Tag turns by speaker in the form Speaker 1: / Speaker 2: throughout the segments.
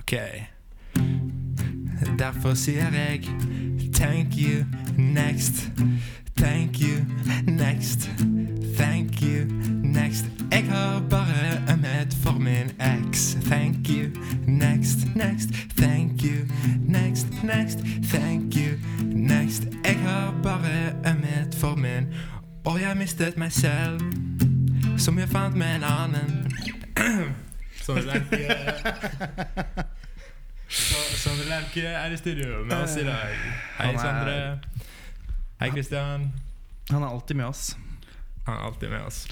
Speaker 1: OK. Derfor sier jeg thank you next. Thank you next. Thank you next. Jeg har bare ømhet for min ex. Thank you next, next. Thank you next, next. Thank you next. Jeg har bare ømhet for min, og jeg mistet meg selv, som jeg fant med en annen.
Speaker 2: Sondre Lerche Så- Sondre Lerche er i studio med oss i dag. Hei,
Speaker 1: Han er-
Speaker 2: Sondre. Hei, Kristian.
Speaker 3: Han er alltid med oss.
Speaker 1: Han er alltid med oss.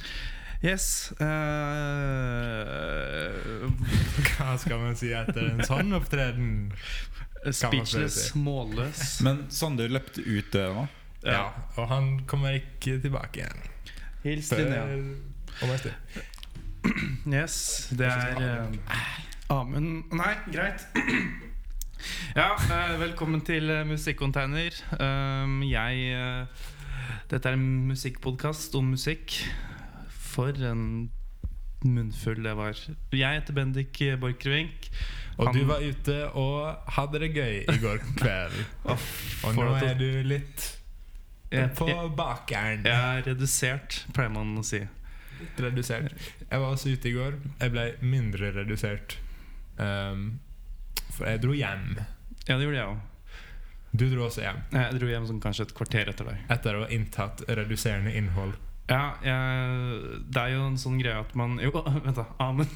Speaker 3: Yes. eh,
Speaker 2: Hva skal man si etter en sånn opptreden?
Speaker 3: speechless,
Speaker 2: si.
Speaker 3: målløs.
Speaker 4: Men Sander løpte ut døra.
Speaker 2: Ja, og han kommer ikke tilbake igjen.
Speaker 3: Hils Linnea.
Speaker 2: Før om en stund.
Speaker 3: Yes, det er eh, Amund Nei, greit. Ja, eh, velkommen til eh, Musikkonteiner. Um, jeg eh, Dette er en musikkpodkast om musikk. For en munnfull det var. Jeg heter Bendik Borchgrevink.
Speaker 2: Og du
Speaker 3: Han-
Speaker 2: var ute og hadde det gøy i går kveld. Og nå
Speaker 3: for at-
Speaker 2: er du litt
Speaker 3: Jeg,
Speaker 2: på
Speaker 3: jeg,
Speaker 2: bakeren.
Speaker 3: jeg er redusert, pleier man å si.
Speaker 2: redusert. Jeg var også ute i går. Jeg ble mindre redusert. Ehm, for jeg dro hjem.
Speaker 3: Ja, det gjorde jeg òg.
Speaker 2: Du dro også hjem.
Speaker 3: Jeg dro hjem sånn kanskje et kvarter etter deg.
Speaker 2: Etter å ha inntatt reduserende innhold.
Speaker 3: Ja, jeg, Det er jo en sånn greie at man Jo, vent, da. Amund.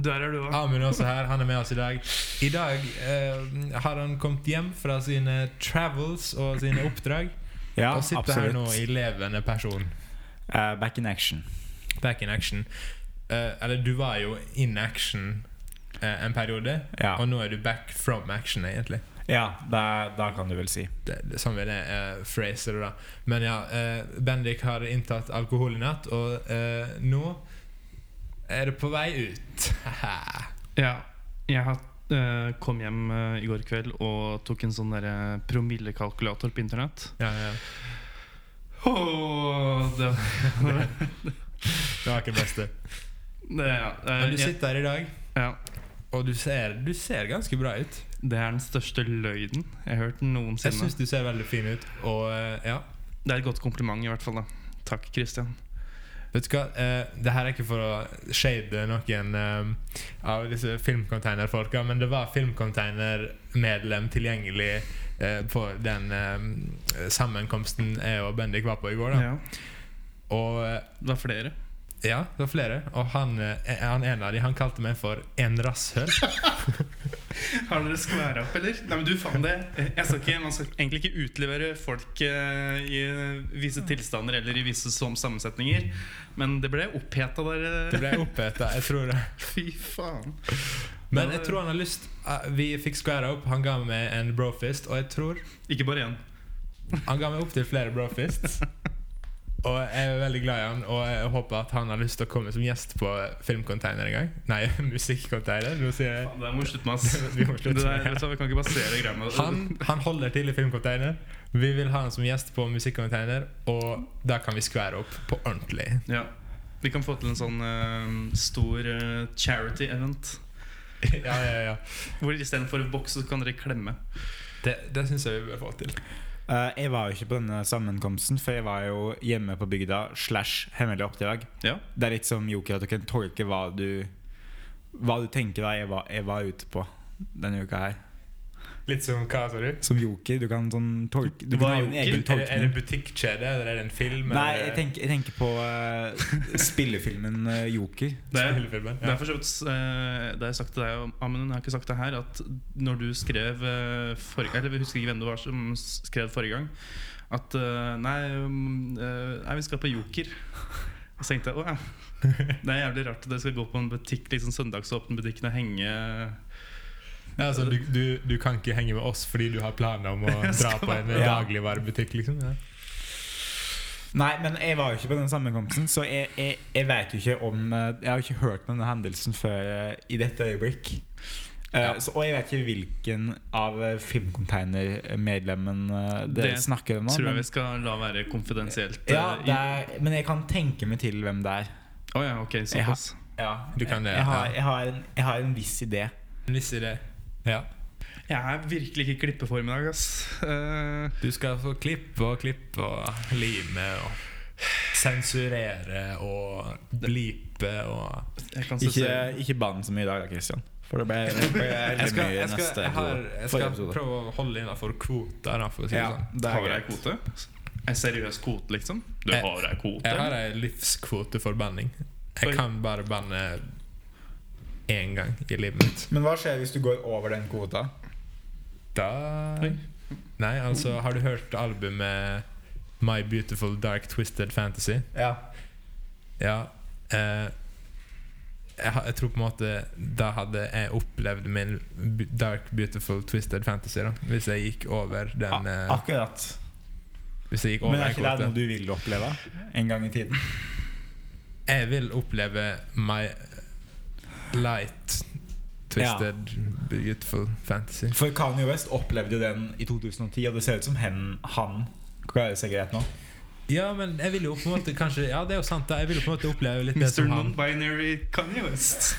Speaker 3: Der er du òg.
Speaker 2: Amund er også her. Han er med oss i dag. I dag eh, har han kommet hjem fra sine travels og sine oppdrag.
Speaker 4: Ja,
Speaker 2: og sitter her nå i levende person.
Speaker 4: Eh, back in action.
Speaker 2: Back in action. Eh, eller du var jo in action eh, en periode,
Speaker 4: Ja,
Speaker 2: og nå er du back from action, egentlig.
Speaker 4: ja da, da kan du vel si.
Speaker 2: det, det, sånn vil jeg eh, phrase det, da. Men ja, eh, Bendik har inntatt alkohol i natt, og eh, nå er det på vei ut.
Speaker 3: Ja, jeg har, eh, kom hjem eh, i går kveld og tok en sånn der, eh, promillekalkulator på internett.
Speaker 2: ja, ja.
Speaker 3: Åh, det, det,
Speaker 2: Det var ikke det beste.
Speaker 3: ja, eh,
Speaker 2: Men du
Speaker 3: jeg,
Speaker 2: sitter her i dag,
Speaker 3: ja,
Speaker 2: og du ser, du ser ganske bra ut.
Speaker 3: det er den største løgnen jeg har hørt
Speaker 2: Jeg
Speaker 3: noensinne.
Speaker 2: syns du ser veldig fin ut, og eh, ja.
Speaker 3: Det er et godt kompliment, i hvert fall. da Takk, Christian.
Speaker 2: Vet du hva, eh, det her er ikke for å shade noen eh, av disse filmcontainerfolka, men det var filmcontainermedlem tilgjengelig eh, på den eh, sammenkomsten jeg og Bendik var på i går. da
Speaker 3: Ja,
Speaker 2: Og eh,
Speaker 3: det var flere.
Speaker 2: ja, det var flere. Og han, eh, han ene av de, han kalte meg for en rasshøl.
Speaker 3: Har dere skværa opp, eller? Nei, men du faen det. Jeg skal ikke, man skal egentlig ikke utlevere folk eh, i visse tilstander eller i visse som sammensetninger, men det ble oppheta
Speaker 2: Det
Speaker 3: der. eh.
Speaker 2: ble oppheta, jeg tror det.
Speaker 3: Fy faen.
Speaker 2: Men jeg tror han har lyst eh, Vi fikk squara opp, han ga meg en brofist, og jeg tror
Speaker 3: Ikke bare én.
Speaker 2: han ga meg opptil flere brofists. Og jeg er veldig glad i han, og jeg håper at han har lyst til å komme som gjest på filmcontainer en gang. Nei, musikkcontainer. Nå sier jeg
Speaker 3: Det må vi slutte med, ass.
Speaker 2: Vi må slutte
Speaker 3: det
Speaker 2: med
Speaker 3: der,
Speaker 2: det.
Speaker 3: vet du, hva, vi kan ikke basere greia med
Speaker 2: han, han holder til i filmcontainer. Vi vil ha han som gjest på musikkcontainer, og da kan vi skvære opp på ordentlig.
Speaker 3: Ja. Vi kan få til en sånn eh, stor eh, charity event.
Speaker 2: Ja, ja, ja
Speaker 3: Hvor istedenfor boks, så kan dere klemme.
Speaker 2: Det, det syns jeg vi bør få til.
Speaker 4: Eh, jeg var jo ikke på denne sammenkomsten, for jeg var jo hjemme på bygda slash hemmelig oppdrag.
Speaker 3: Ja.
Speaker 4: Det er litt som joker at du kan tolke hva du Hva du tenker deg jeg var, jeg var ute på denne uka her.
Speaker 2: Litt som hva, sa du?
Speaker 4: Som joker, du kan sånn tolke Du
Speaker 3: Hva
Speaker 4: kan ha en
Speaker 3: er
Speaker 2: Er
Speaker 4: egen
Speaker 2: det, er
Speaker 4: tolkning.
Speaker 2: det butikkjede, eller er det en film?
Speaker 4: Nei,
Speaker 2: eller-
Speaker 4: jeg tenker, jeg tenker på eh, spillefilmen eh, Joker.
Speaker 3: Det er,
Speaker 2: Spillefilmen,
Speaker 3: Det
Speaker 2: ja.
Speaker 3: er for så vidt eh, Det har jeg sagt til deg, Amund, jeg har ikke sagt det her, at når du skrev eh, forrige Eller jeg husker ikke hvem du var som skrev forrige gang, at eh, nei, mm, eh, nei, vi skal på Joker. Og så tenkte jeg å ja. Det er jævlig rart at dere skal gå på en butikk liksom søndagsåpne butikken og henge
Speaker 2: Ja, altså, du, du, du kan ikke henge med oss fordi du har planer om å dra på en
Speaker 4: Ja.
Speaker 2: dagligvarebutikk, liksom? Ja.
Speaker 4: Nei, men jeg var jo ikke på den sammenkomsten, så jeg, jeg, jeg vet jo ikke om eh, Jeg har jo ikke hørt om denne hendelsen før eh, i dette øyeblikk. Eh, så, og jeg vet ikke hvilken av eh, filmcontainer-medlemmen eh, dere
Speaker 3: Det
Speaker 4: snakker om nå.
Speaker 3: Tror jeg
Speaker 4: Men,
Speaker 3: vi skal la være konfidensielt. eh,
Speaker 4: ja, det
Speaker 3: i-
Speaker 4: er, men jeg kan tenke meg til hvem det er.
Speaker 3: Å ja, ok, såpass.
Speaker 4: Ja,
Speaker 2: Du kan det,
Speaker 4: jeg, jeg, har,
Speaker 2: ja.
Speaker 4: jeg, har en, jeg har en viss idé.
Speaker 2: Visste det. Ja.
Speaker 3: Jeg er virkelig ikke i klippeform i dag, ass. Eh,
Speaker 2: Du skal få klippe og klippe og lime og sensurere og blipe og
Speaker 3: jeg kan
Speaker 4: Ikke,
Speaker 3: sensurere.
Speaker 4: ikke bann så mye i dag, Christian. For det ble, det ble
Speaker 2: Jeg
Speaker 4: veldig
Speaker 2: skal,
Speaker 4: mye
Speaker 2: jeg skal,
Speaker 4: neste
Speaker 2: jeg har, jeg
Speaker 4: forrige
Speaker 2: skal
Speaker 4: episode.
Speaker 2: prøve å holde innafor kvota, da, for å si det
Speaker 4: Ja,
Speaker 2: sånn.
Speaker 4: det
Speaker 3: Har
Speaker 4: er
Speaker 3: du ei
Speaker 4: greit.
Speaker 3: kvote? En seriøs kvote, liksom? Du
Speaker 2: Jeg-
Speaker 3: har ei kvote?
Speaker 2: Jeg har ei livskvote for banning.
Speaker 3: Oi.
Speaker 2: Jeg kan bare banne én gang i livet mitt.
Speaker 4: Men hva skjer hvis du går over den kvota?
Speaker 2: Da
Speaker 3: Oi.
Speaker 2: Nei, altså, har du hørt albumet My Beautiful Dark Twisted Fantasy?
Speaker 4: Ja.
Speaker 2: Ja. Eh, jeg, ha- jeg tror på en måte da hadde jeg opplevd min bu- dark, beautiful, twisted fantasy. da Hvis jeg gikk over den eh,
Speaker 4: akkurat.
Speaker 2: Hvis jeg gikk
Speaker 4: Ah,
Speaker 2: over
Speaker 4: Men er
Speaker 2: den
Speaker 4: ikke det
Speaker 2: kvoten.
Speaker 4: noe du vil oppleve en gang i tiden?
Speaker 2: Jeg vil oppleve my light, twisted, beautiful fantasy.
Speaker 4: For Kanye West opplevde jo den i 2010, og det ser ut som hen, han klarer seg greit nå.
Speaker 2: Ja, men jeg vil jo på en måte kanskje Ja, det er jo sant, da. Jeg vil jo på en måte oppleve litt det
Speaker 3: Mr.
Speaker 2: som han
Speaker 3: Non-binary Kanye West.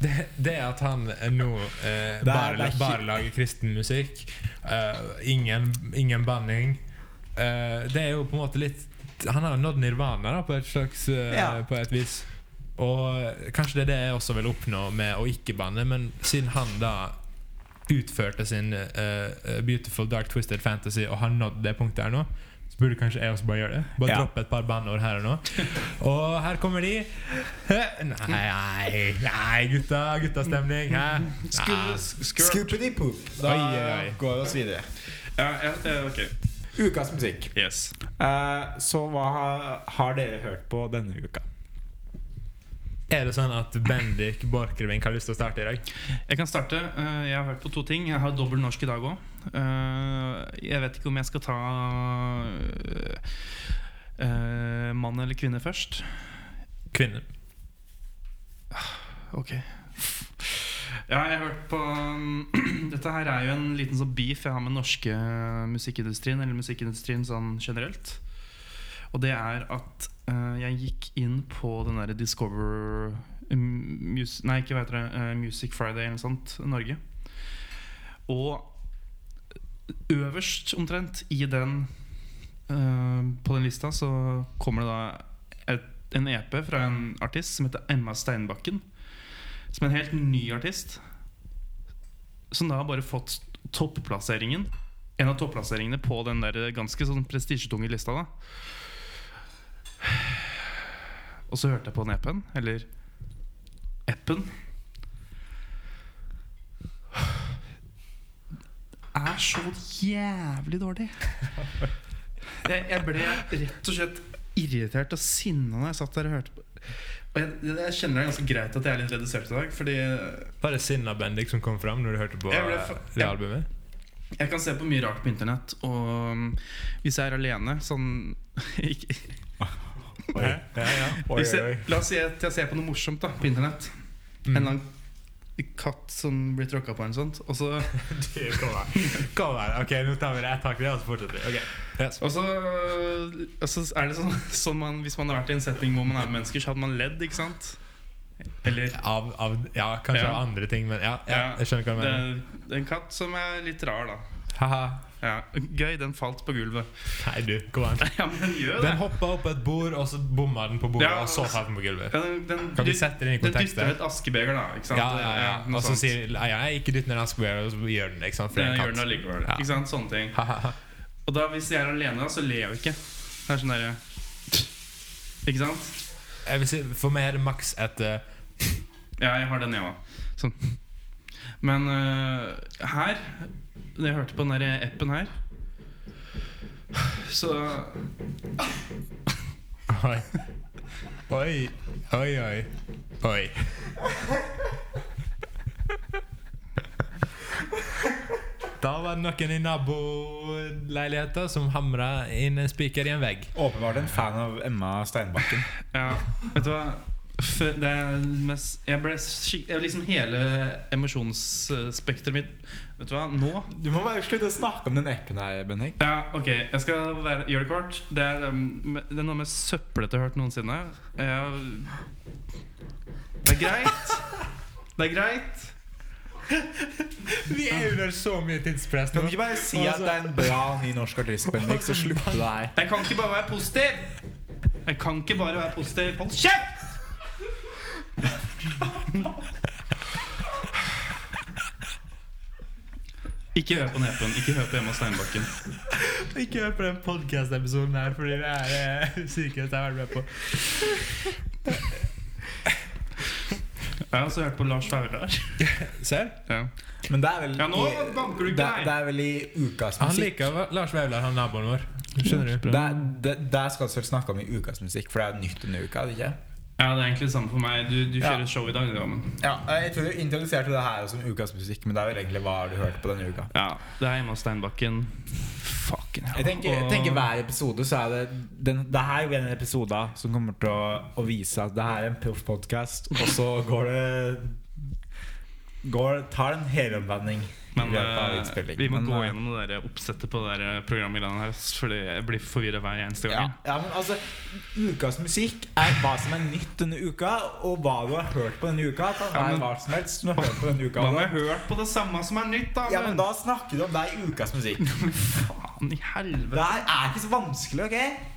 Speaker 2: Det, det at han eh, nå eh,
Speaker 4: er-
Speaker 2: bare,
Speaker 4: det er ikke-
Speaker 2: bare lager kristen musikk, eh, ingen, ingen banning eh, Det er jo på en måte litt Han har nådd nirvana da, på et slags eh,
Speaker 4: Ja.
Speaker 2: På et vis. Og eh, kanskje det er det jeg også vil oppnå med å ikke banne, men siden han da utførte sin eh, eh, Beautiful Dark Twisted Fantasy og har nådd det punktet her nå, så burde kanskje jeg også bare gjøre det. Bare
Speaker 4: Ja.
Speaker 2: droppe et par banneord her og nå. Og her kommer de. Nei, nei, nei gutta. Guttastemning. Hæ?
Speaker 3: Skulle,
Speaker 2: Nei.
Speaker 3: skulle,
Speaker 4: poop. Da
Speaker 2: Oi, oi, oi.
Speaker 4: går vi oss videre.
Speaker 3: ja, ja, ja, ok.
Speaker 4: Ukas musikk.
Speaker 3: Yes.
Speaker 4: Eh, så hva ha- har dere hørt på denne uka?
Speaker 2: Er det sånn at Bendik Borchgrevink har lyst til å starte i dag?
Speaker 3: Jeg kan starte. Eh, Jeg har hørt på to ting. Jeg har dobbel norsk i dag òg. Jeg vet ikke om jeg skal ta eh, eh, mann eller kvinne først.
Speaker 2: Kvinne.
Speaker 3: Ok. Ja, jeg har hørt på um, Dette her er jo en liten sånn beef jeg har med norske musikkindustrien, eller musikkindustrien sånn generelt. Og det er at eh, jeg gikk inn på den derre Discover mm, mus Nei, ikke hva heter det. eh, Music Friday eller noe sånt. Norge. Og øverst omtrent i den eh, På den lista så kommer det da et, en EP fra en artist som heter Emma Steinbakken. Som er en helt ny artist. Som da har bare fått topplasseringen. En av topplasseringene på den der ganske sånn prestisjetunge lista. da Og så hørte jeg på den appen, eller appen. Er så jævlig dårlig. Jeg, jeg ble rett og slett irritert og sinna da jeg satt der og hørte på. Og jeg, jeg kjenner det er ganske greit at jeg er litt redusert i dag, fordi
Speaker 2: Var det sinnet av Bendik som kom fram når du hørte på
Speaker 3: Jeg ble
Speaker 2: eh,
Speaker 3: fa-
Speaker 2: det
Speaker 3: ja.
Speaker 2: albumet?
Speaker 3: Jeg kan se på mye rart på internett, og um, hvis jeg er alene Sånn ikke,
Speaker 4: Oi,
Speaker 2: Ja, ja.
Speaker 3: hvis jeg, La oss si at jeg ser på noe morsomt da på internett. En eller annen katt som blir tråkka på, eller noe sånt. Og så,
Speaker 2: Kom her. Kom her. Ok, nå tar vi det ett tak i det, og så fortsetter vi. Ok. Yes.
Speaker 3: og så, og så er det sånn, sånn man, Hvis man har vært i en setting hvor man er med mennesker, så hadde man ledd, ikke sant? Eller
Speaker 2: Av, av, ja, kanskje
Speaker 3: Ja.
Speaker 2: av andre ting, men ja, ja,
Speaker 3: Ja.
Speaker 2: jeg skjønner hva du
Speaker 3: det
Speaker 2: mener.
Speaker 3: er en katt som er litt rar, da.
Speaker 2: Haha.
Speaker 3: Ja, Gøy, den falt på gulvet.
Speaker 2: Nei, du. Kom an.
Speaker 3: Ja, men den gjør det.
Speaker 2: Den hoppa opp på et bord, og så bomma den på bordet,
Speaker 3: Ja,
Speaker 2: og så
Speaker 3: og så-
Speaker 2: falt den på gulvet.
Speaker 3: Ja, den, den,
Speaker 2: Kan vi sette det inn i
Speaker 3: den dytter
Speaker 2: kontekster?
Speaker 3: et askebeger, da. Ikke
Speaker 2: Ja,
Speaker 3: sant?
Speaker 2: ja, ja,
Speaker 3: noe
Speaker 2: Og så
Speaker 3: sånt.
Speaker 2: sier eieren ikke dytt ned Askebjørn, og så gjør den ikke sant, for det
Speaker 3: Den
Speaker 2: er
Speaker 3: gjør den
Speaker 2: en
Speaker 3: allikevel.
Speaker 2: Ja.
Speaker 3: Ikke sant? Sånne ting.
Speaker 2: katt.
Speaker 3: Og da, hvis jeg er alene, da, så ler jeg jo ikke. Det er sånn derre Ikke sant?
Speaker 2: Jeg vil si, for meg er det maks et eh,
Speaker 3: Ja, jeg har den, jeg òg. Sånn. Men øh, her Når jeg hørte på den der appen her, så
Speaker 2: Oi. Oi, oi, oi. Oi. Da var det noen i naboleiligheta som hamra inn en spiker i en vegg.
Speaker 4: Åpenbart en fan av Emma Steinbakken.
Speaker 3: Ja, vet du hva? F- Det er mest, jeg ble skik- jeg Liksom hele emosjonsspekteret mitt Vet du hva? Nå
Speaker 4: Du må bare slutte å snakke om den appen her, Bendik.
Speaker 3: Ja, ok, jeg skal være, gjøre det kort. Det er, um, det er noe med søppelete jeg har hørt noensinne. Jeg, det er greit. Det er greit.
Speaker 2: Vi er under så mye tidspress
Speaker 4: Kan du ikke bare si at det er en bra ny norsk artist, Bendik, så slutter det her?
Speaker 3: Jeg kan ikke bare være positiv. Jeg kan ikke bare være positiv. Hold kjeft! Ikke hør på Nepen. Ikke hør på Emma Steinbakken.
Speaker 2: Ikke hør på den podcast-episoden her, fordi det er eh, sykeste jeg har vært med på.
Speaker 3: Jeg har også hørt på Lars Vaular.
Speaker 2: Ser?
Speaker 3: Ja.
Speaker 4: Men det er vel
Speaker 3: Ja, nå
Speaker 4: i,
Speaker 3: banker du ikke
Speaker 4: det,
Speaker 3: her.
Speaker 4: det er vel i ukas
Speaker 2: Han
Speaker 4: musikk.
Speaker 2: liker hva- Lars Vaular, han naboen vår. Skjønner du?
Speaker 4: Det, det, det skal vi vel snakke om i ukas musikk, for det er nytt denne uka. er det ikke?
Speaker 3: ja, det er egentlig det samme for meg. Du, du
Speaker 4: Ja.
Speaker 3: kjører show i dag, du, Amund.
Speaker 4: Ja, Jeg tror du introduserte det her som ukas musikk, men det er vel egentlig hva har du hørt på denne uka?
Speaker 3: Ja, det er Emma Steinbakken. Fucking hell.
Speaker 4: Jeg tenker, jeg
Speaker 3: Og-
Speaker 4: tenker hver episode så er det den, Det her er jo en episode som kommer til å, å vise at det her er en proff podcast og så går det går, tar det en helomvending. i
Speaker 3: Men
Speaker 4: løpet av
Speaker 3: eh,
Speaker 4: innspillingen.
Speaker 3: vi må
Speaker 4: Men,
Speaker 3: gå
Speaker 4: eh,
Speaker 3: gjennom det der oppsettet på det der eh, programmet i landet her, ass, fordi jeg blir forvirra hver eneste
Speaker 4: Ja.
Speaker 3: gang.
Speaker 4: ja, men altså Ukas musikk er hva som er nytt denne uka, og hva du har hørt på denne uka. Kan
Speaker 3: Ja,
Speaker 4: være
Speaker 3: men-
Speaker 4: hva som helst som du har hørt på denne uka
Speaker 3: Hva med hørt på det samme som er nytt, da?
Speaker 4: Ja, men Da snakker du om deg i ukas musikk.
Speaker 3: Faen i helvete.
Speaker 4: Det her er ikke så vanskelig, OK?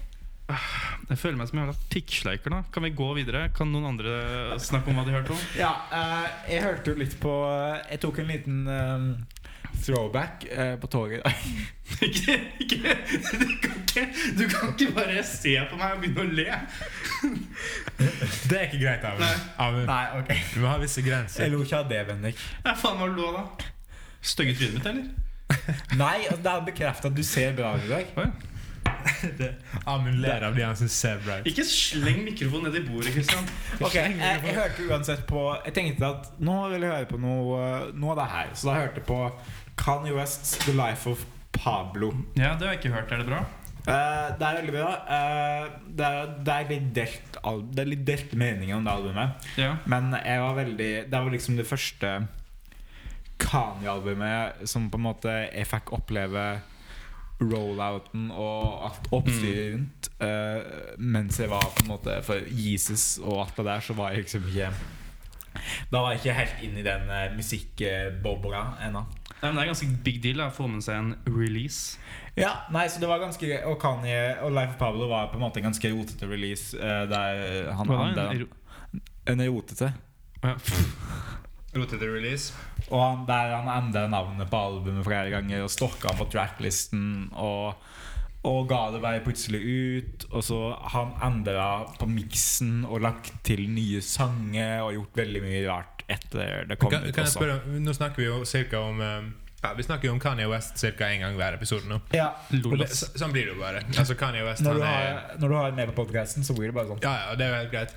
Speaker 3: Jeg føler meg som en jævla pikksleiker nå. Kan vi gå videre? Kan noen andre eh, snakke om hva de hørte om?
Speaker 4: Ja, eh, jeg hørte jo litt på Jeg tok en liten eh, throwback eh, på toget i dag.
Speaker 3: ikke, ikke, du, kan ikke, du kan ikke bare se på meg og begynne å le.
Speaker 2: Det er ikke greit, Amund. Amund.
Speaker 4: Nei, ok
Speaker 2: Vi må ha visse grenser.
Speaker 4: Jeg lo ikke av det, Bendik.
Speaker 3: Ja, faen, hva lå da? Stygge trynet mitt, eller?
Speaker 4: Nei, altså, det er bekrefta at du ser bra ut i dag.
Speaker 3: Å, ja.
Speaker 2: Amund ler av de han syns ser bra ut.
Speaker 3: Ikke sleng mikrofonen ned i bordet, Kristian.
Speaker 4: Ok, jeg, jeg hørte uansett på Jeg tenkte at nå vil jeg høre på noe, noe av det her. Så da hørte jeg på Kanye West's The Life of Pablo.
Speaker 3: Ja, det har jeg ikke hørt. Er det bra?
Speaker 4: Eh, det er veldig bra. Eh, det, er, det er litt delt al- Det er litt delte meninger om det albumet.
Speaker 3: Ja.
Speaker 4: Men jeg var veldig Det var liksom det første Kanye-albumet som på en måte jeg fikk oppleve rollouten og alt oppstyret rundt. eh, mens jeg var på en måte for Jesus og alt det der, så var jeg liksom ikke Da var jeg ikke helt inn i den uh, musikkbobla ennå.
Speaker 3: Nei, men Det er ganske big deal da, å få med seg en release.
Speaker 4: Ja, nei, så det var ganske greit. Og Kanye og Life of Pablo var på en måte en ganske rotete release. eh, der han, han,
Speaker 3: en
Speaker 4: den, en rotete.
Speaker 3: ja. Rotete release.
Speaker 4: Og han, der han endra navnet på albumet flere ganger og stokka han på tracklisten. Og, og ga det bare plutselig ut. Og så han endra på miksen og lagt til nye sanger og gjort veldig mye rart etter det kom
Speaker 2: Kan,
Speaker 4: ut.
Speaker 2: kan jeg
Speaker 4: også.
Speaker 2: spørre, om- nå snakker vi jo cirka om eh, ja, Vi snakker jo om Kanye West cirka en gang hver episode nå.
Speaker 4: Ja,
Speaker 2: Og det,
Speaker 3: Lolas.
Speaker 2: så, sånn blir det jo bare. Altså Kanye West han
Speaker 4: når, du
Speaker 2: er
Speaker 4: har, når du har med på podkasten, så blir det bare sånn.
Speaker 2: Ja, ja, det er jo helt greit.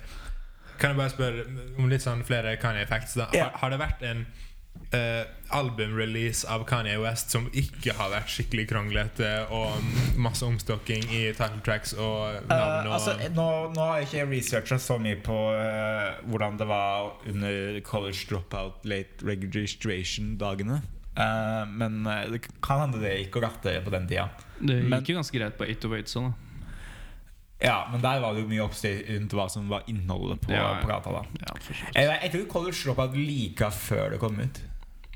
Speaker 2: Kan jeg bare spørre om litt sånn flere Kanye facts? da?
Speaker 4: Ja.
Speaker 2: Har, har det vært en eh, albumrelease av Kanye West som ikke har vært skikkelig kronglete og masse omstokking i title tracks og
Speaker 4: Eh,
Speaker 2: navn og
Speaker 4: altså, nå, nå har jeg ikke researcha så mye på eh, hvordan det var under college dropout, late registration-dagene. Eh, men eh, det kan hende det gikk og rattere på den tida.
Speaker 3: Det
Speaker 4: Men-
Speaker 3: gikk jo ganske greit på 808 sånn,
Speaker 4: Ja, men der var det jo mye oppstyr rundt hva som var innholdet på
Speaker 3: Ja, ja.
Speaker 4: plata. da Eh,
Speaker 3: da. Ja,
Speaker 4: jeg, jeg tror college dropout like før det kom ut.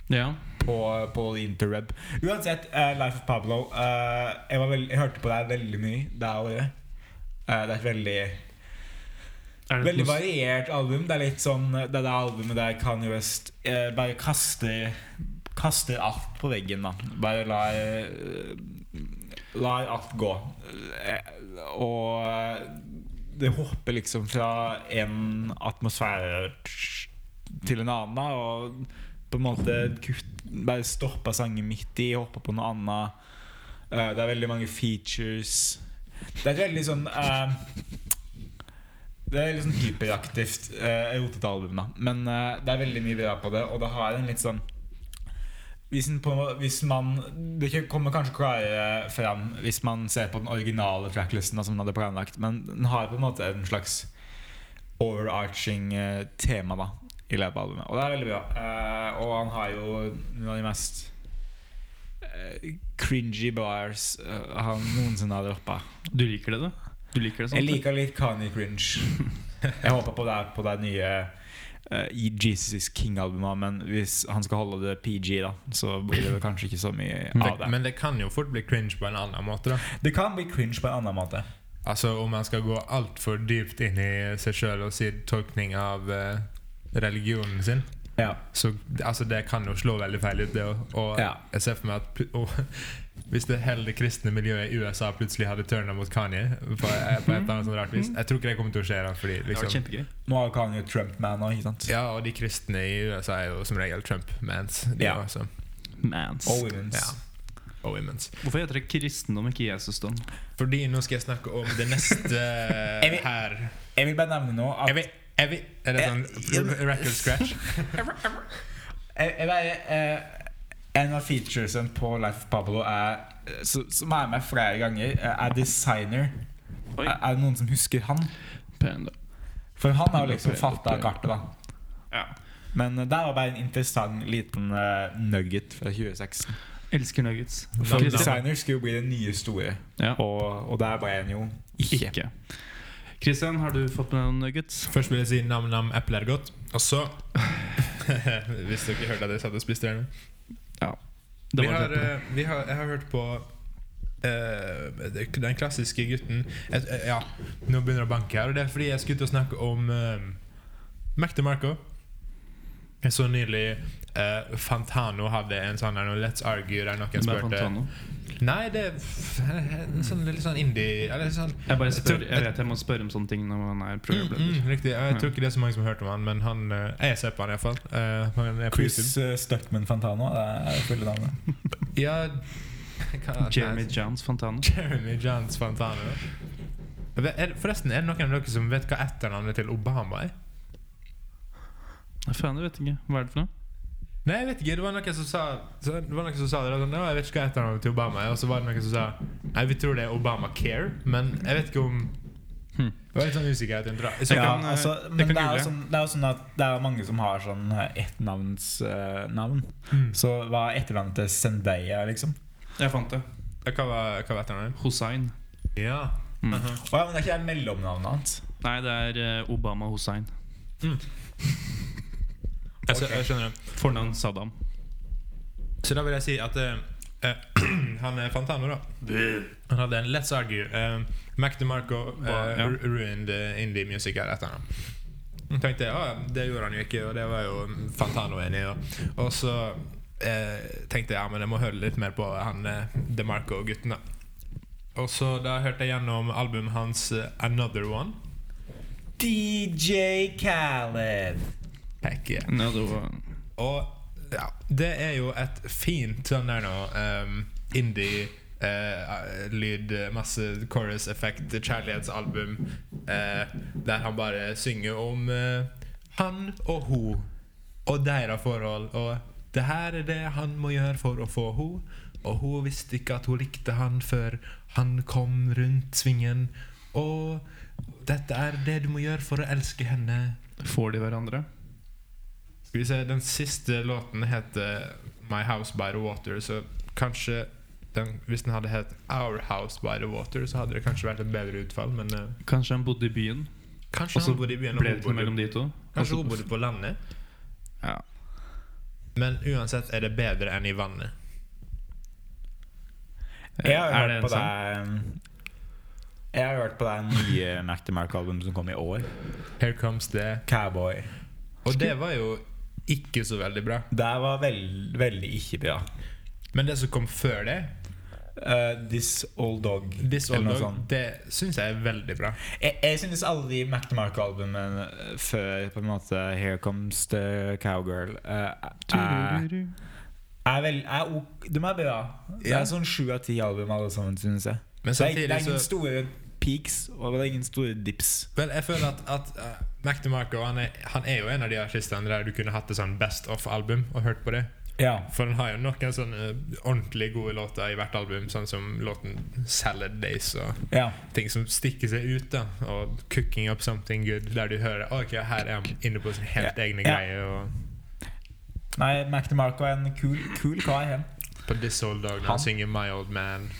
Speaker 3: ja.
Speaker 4: På, på interweb. Uansett, eh, Life of Pablo eh, jeg, var veld, jeg hørte på deg veldig mye det året. Eh, det er et veldig
Speaker 3: Er det
Speaker 4: Veldig
Speaker 3: et mos-
Speaker 4: variert album. Det er litt sånn Det er det albumet der Kanye West eh, bare kaster Kaster alt på veggen, da. Bare lar eh, Lar alt gå. Eh, Og eh, det hopper liksom fra en atmosfære til en annen, da, og på en måte kutt, bare stopper sangen midt i, hopper på noe annet. Eh, Det er veldig mange features. Det er et veldig sånn eh, det er litt sånn hyperaktivt uh, rotete album, da. Men eh, det er veldig mye bra på det, og det har en litt sånn hvis, en på, hvis man Det ikke- kommer kanskje klarere fram hvis man ser på den originale tracklisten da, som den hadde planlagt, men den har på en måte en slags overarching eh, tema da i løpet av albumet. Og det er veldig bra. Eh, og han har jo noen av de mest eh, cringy bars eh, han noensinne har droppa.
Speaker 3: Du liker det, du? Du liker det sånn?
Speaker 4: Jeg liker litt Kanye Cringe. Jeg håper på det er på det nye eh, i Jesus Is King-albumet, men hvis han skal holde det PG, da, så blir det vel kanskje ikke så mye
Speaker 2: Men,
Speaker 4: av det.
Speaker 2: men det kan jo fort bli cringe på en annen måte. da
Speaker 4: det kan bli cringe på en annen måte.
Speaker 2: Altså Om man skal gå altfor dypt inn i seg sjøl og si tolkning av eh, religionen sin.
Speaker 4: Ja.
Speaker 2: Så altså, det kan jo slå veldig feil ut, det òg. Og
Speaker 4: Ja.
Speaker 2: jeg ser for meg at pl- og, hvis det hele det kristne miljøet i USA plutselig hadde turna mot Kanye på, eh, på et eller annet sånt rart
Speaker 4: Mm.
Speaker 2: vis Jeg tror ikke det kommer til å skje. da Fordi
Speaker 3: Det hadde vært
Speaker 2: liksom
Speaker 3: kjempegøy.
Speaker 4: Nå har Kanye Trump-man òg, ikke sant?
Speaker 2: Ja, og de kristne i USA er jo som regel Trump-mans. De
Speaker 4: Ja.
Speaker 2: også.
Speaker 3: Mans.
Speaker 4: Og Women's.
Speaker 2: Ja. Og womens.
Speaker 3: Hvorfor heter det kristendom, ikke Jesusdom?
Speaker 2: Fordi nå skal jeg snakke om det neste
Speaker 4: Jeg vil-
Speaker 2: her.
Speaker 4: Jeg vil bare nevne nå at
Speaker 2: Jeg vil, jeg vil, er det
Speaker 4: Jeg-
Speaker 2: sånn record scratch?
Speaker 4: jeg, jeg bare, eh, En av featuresene på Life of Pablo er, eh, så- som er med flere ganger, eh, er designer.
Speaker 3: Oi.
Speaker 4: Er, er det noen som husker han?
Speaker 3: Panda.
Speaker 4: For han har jo liksom fatta kartet, da.
Speaker 3: Ja.
Speaker 4: Men eh, der var bare en interessant liten eh, nugget fra 2016.
Speaker 3: Elsker nuggets.
Speaker 4: For
Speaker 2: Navnet-
Speaker 3: Kristen-
Speaker 4: designer skulle jo bli det nye store,
Speaker 3: Ja.
Speaker 4: og, og der ble en jo ikke.
Speaker 3: Ikke. Christian, har du fått med deg noen nuggets?
Speaker 2: Først vil jeg si nam-nam, eple er godt. Og så Hvis dere hørte at jeg satt og spiste der nå.
Speaker 3: Det
Speaker 2: Vi
Speaker 3: var
Speaker 2: har,
Speaker 3: det.
Speaker 2: eh, vi har, jeg har hørt på eh, den klassiske gutten jeg, eh, Ja, nå begynner det å banke her. Og det er fordi jeg skulle til å snakke om uh, Mac DeMarco. Jeg så nylig eh, Fantano hadde en sånn her nå, Let's Argue der noen
Speaker 3: Det var
Speaker 2: spurte
Speaker 3: Fantano.
Speaker 2: Nei, det er f- en sånn, litt sånn indie eller sånn,
Speaker 3: Jeg bare spør,
Speaker 2: tror-
Speaker 3: jeg vet jeg må spørre om sånne ting når man er
Speaker 2: Mm,
Speaker 3: programleder.
Speaker 2: mm, riktig. Jeg
Speaker 3: Ja.
Speaker 2: tror ikke det er så mange som har hørt om han, men han, eh, jeg ser på han iallfall. Uh,
Speaker 4: Chris eh, Stuckman Fantano det er det fulle navnet.
Speaker 2: Ja, hva,
Speaker 3: Jeremy
Speaker 2: nei,
Speaker 3: Jones Fontana.
Speaker 2: Jeremy Johns Fantano. Ve- Er, forresten, er det noen av dere som vet hva etternavnet til Obama er?
Speaker 3: Nei, Faen, jeg vet ikke. Hva er det for noe?
Speaker 2: Nei, jeg vet ikke. Det var noen som sa så, Det var noen som sa det. og Sånn, «Å, jeg vet ikke hva etternavnet til Obama er. Og så var det noen som sa Nei, vi tror det er Obamacare, men jeg vet ikke om
Speaker 3: Hmm.
Speaker 2: Det var litt sånn usikkerhet. rundt det. Så
Speaker 4: Ja,
Speaker 2: kan-
Speaker 3: eh,
Speaker 4: altså,
Speaker 2: jeg
Speaker 4: men
Speaker 2: kan
Speaker 4: det er, jo
Speaker 2: google.
Speaker 4: sånn, det er jo sånn at det er jo mange som har sånn eh, etternavnsnavn.
Speaker 2: Mm.
Speaker 4: Så hva er etternavnet til Zendaya, liksom?
Speaker 3: Jeg fant det.
Speaker 2: eh, Hva var, hva var etternavnet?
Speaker 3: Hussein.
Speaker 2: Ja.
Speaker 3: Mm.
Speaker 4: Å ja, men det er ikke det mellomnavnet hans.
Speaker 3: Nei, det er eh, Obama Hussein.
Speaker 2: Jeg, skjø- jeg skjønner det.
Speaker 3: Fornavn Saddam.
Speaker 2: Så da vil jeg si at eh, eh, han er Fantano, da. Han hadde en Let's Argue. eh, Mac DeMarco eh,
Speaker 3: Hva? Ja.
Speaker 2: ru- ruined eh, indie music her etter ham. Jeg tenkte ja, det gjorde han jo ikke, og det var jo Fantano enig i. da. Og så eh, tenkte jeg ja, men jeg må høre litt mer på han eh, DeMarco-gutten, da. Og så da hørte jeg gjennom albumet hans eh, Another One.
Speaker 4: DJ Khaled.
Speaker 2: Heck yeah.
Speaker 3: Nei, det var
Speaker 2: Og ja, det er jo et fint sånn der nå ehm, Indie eh, lyd, masse chorus-effekt, kjærlighetsalbum eh, der han bare synger om eh, han og hun og deres forhold. Og det her er det han må gjøre for å få hun Og hun visste ikke at hun likte han før han kom rundt svingen. Og dette er det du må gjøre for å elske henne.
Speaker 3: Får de hverandre?
Speaker 2: Skal vi se, den siste låten heter My House By The Water, så kanskje den, hvis den hadde hett Our House By The Water, så hadde det kanskje vært et bedre utfall, men eh,
Speaker 3: Kanskje han bodde i byen,
Speaker 2: kanskje
Speaker 3: og så
Speaker 2: han
Speaker 3: ble
Speaker 2: bodde i byen og
Speaker 3: det
Speaker 2: hun
Speaker 3: til
Speaker 2: bodde,
Speaker 3: mellom de to?
Speaker 2: kanskje
Speaker 3: Og
Speaker 2: hun
Speaker 3: så-
Speaker 2: bodde på landet.
Speaker 3: Ja.
Speaker 2: Men uansett er det bedre enn i vannet.
Speaker 4: Jeg
Speaker 3: Eh, Er
Speaker 4: har hørt
Speaker 3: det en
Speaker 4: på
Speaker 3: sang?
Speaker 4: det Jeg har hørt på det nye Mac DeMarco-albumet som kom i år.
Speaker 2: Here comes the
Speaker 4: Cowboy.
Speaker 2: Og det var jo ikke så veldig bra.
Speaker 4: Det var veld, veldig ikke bra.
Speaker 2: Men det som kom før det,
Speaker 4: Eh, This Old Dog.
Speaker 2: This Old
Speaker 4: eller noe
Speaker 2: Dog,
Speaker 4: sånt.
Speaker 2: det syns jeg er veldig bra.
Speaker 4: Jeg, jeg synes alle de Mac DeMarco-albumene eh, før på en måte Here Comes the Cowgirl eh, er er vel, er ok, De er bra. Det
Speaker 2: Ja.
Speaker 4: er sånn sju av ti album, alle sammen, synes jeg.
Speaker 2: Men
Speaker 4: Det er, det
Speaker 2: samtidig
Speaker 4: er
Speaker 2: så
Speaker 4: ingen store peaks, og det er ingen store dips.
Speaker 2: Vel, jeg føler at, at eh, Mac DeMarco han er, han er jo en av de artistene der du kunne hatt et sånn Best Off-album og hørt på det.
Speaker 4: Ja.
Speaker 2: For han har jo noen sånne eh, ordentlig gode låter i hvert album, sånn som låten 'Salad Days' og
Speaker 4: ja.
Speaker 2: ting som stikker seg ut. da Og 'Cooking Up Something Good', der du hører Ok, her er han inne på sin helt egne
Speaker 4: Ja.
Speaker 2: greier. Og
Speaker 4: Nei, Mac DeMarco er en kul, kul kar. hen.
Speaker 2: på 'This Old Dog' når han
Speaker 4: Han-
Speaker 2: synger 'My Old Man'.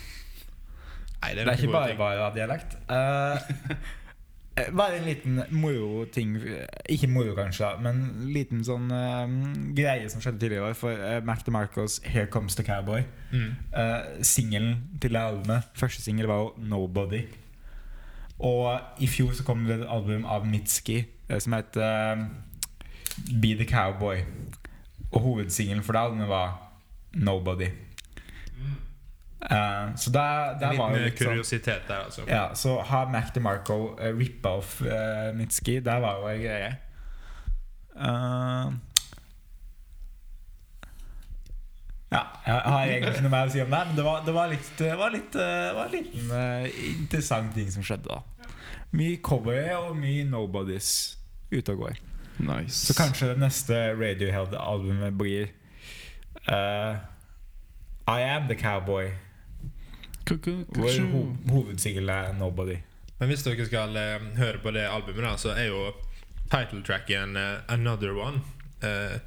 Speaker 2: Nei, det
Speaker 4: Det
Speaker 2: er,
Speaker 4: er ikke
Speaker 2: noen gode
Speaker 4: bare
Speaker 2: ting.
Speaker 4: bare dialekt. Eh, Eh, Bare en liten moro-ting Ikke moro, kanskje, da, men en liten sånn eh, greie som skjedde tidligere i år. For eh, Mac DeMarcos 'Here Comes the Cowboy'.
Speaker 2: Mm.
Speaker 4: Uh, Singelen til det albumet Første singel var jo 'Nobody'. Og i fjor så kom det et album av Mitski eh, som het eh, 'Be the Cowboy'. Og hovedsingelen for det albumet var 'Nobody'. Eh, så der, der
Speaker 2: Mm. En
Speaker 4: var jo
Speaker 2: liten eh,
Speaker 4: litt sånn
Speaker 2: kuriositet der, altså.
Speaker 4: ja, så har Mac DeMarco uh, rippa off eh, Mitski. Der var jo en greie. Eh, ja, jeg har egentlig ikke noe mer å si om det, men det var, det var litt Det var litt, eh, var en liten eh, interessant ting som skjedde, da. Mye cowboyer og mye nobodies ute og går.
Speaker 3: Nice.
Speaker 4: Så kanskje det neste Radiohead-albumet blir eh, I Am The Cowboy, hvor ho hovedsingelen er Nobody.
Speaker 2: Men hvis dere skal eh, høre på det albumet, da, så er jo titletracken eh, 'Another One'. Eh,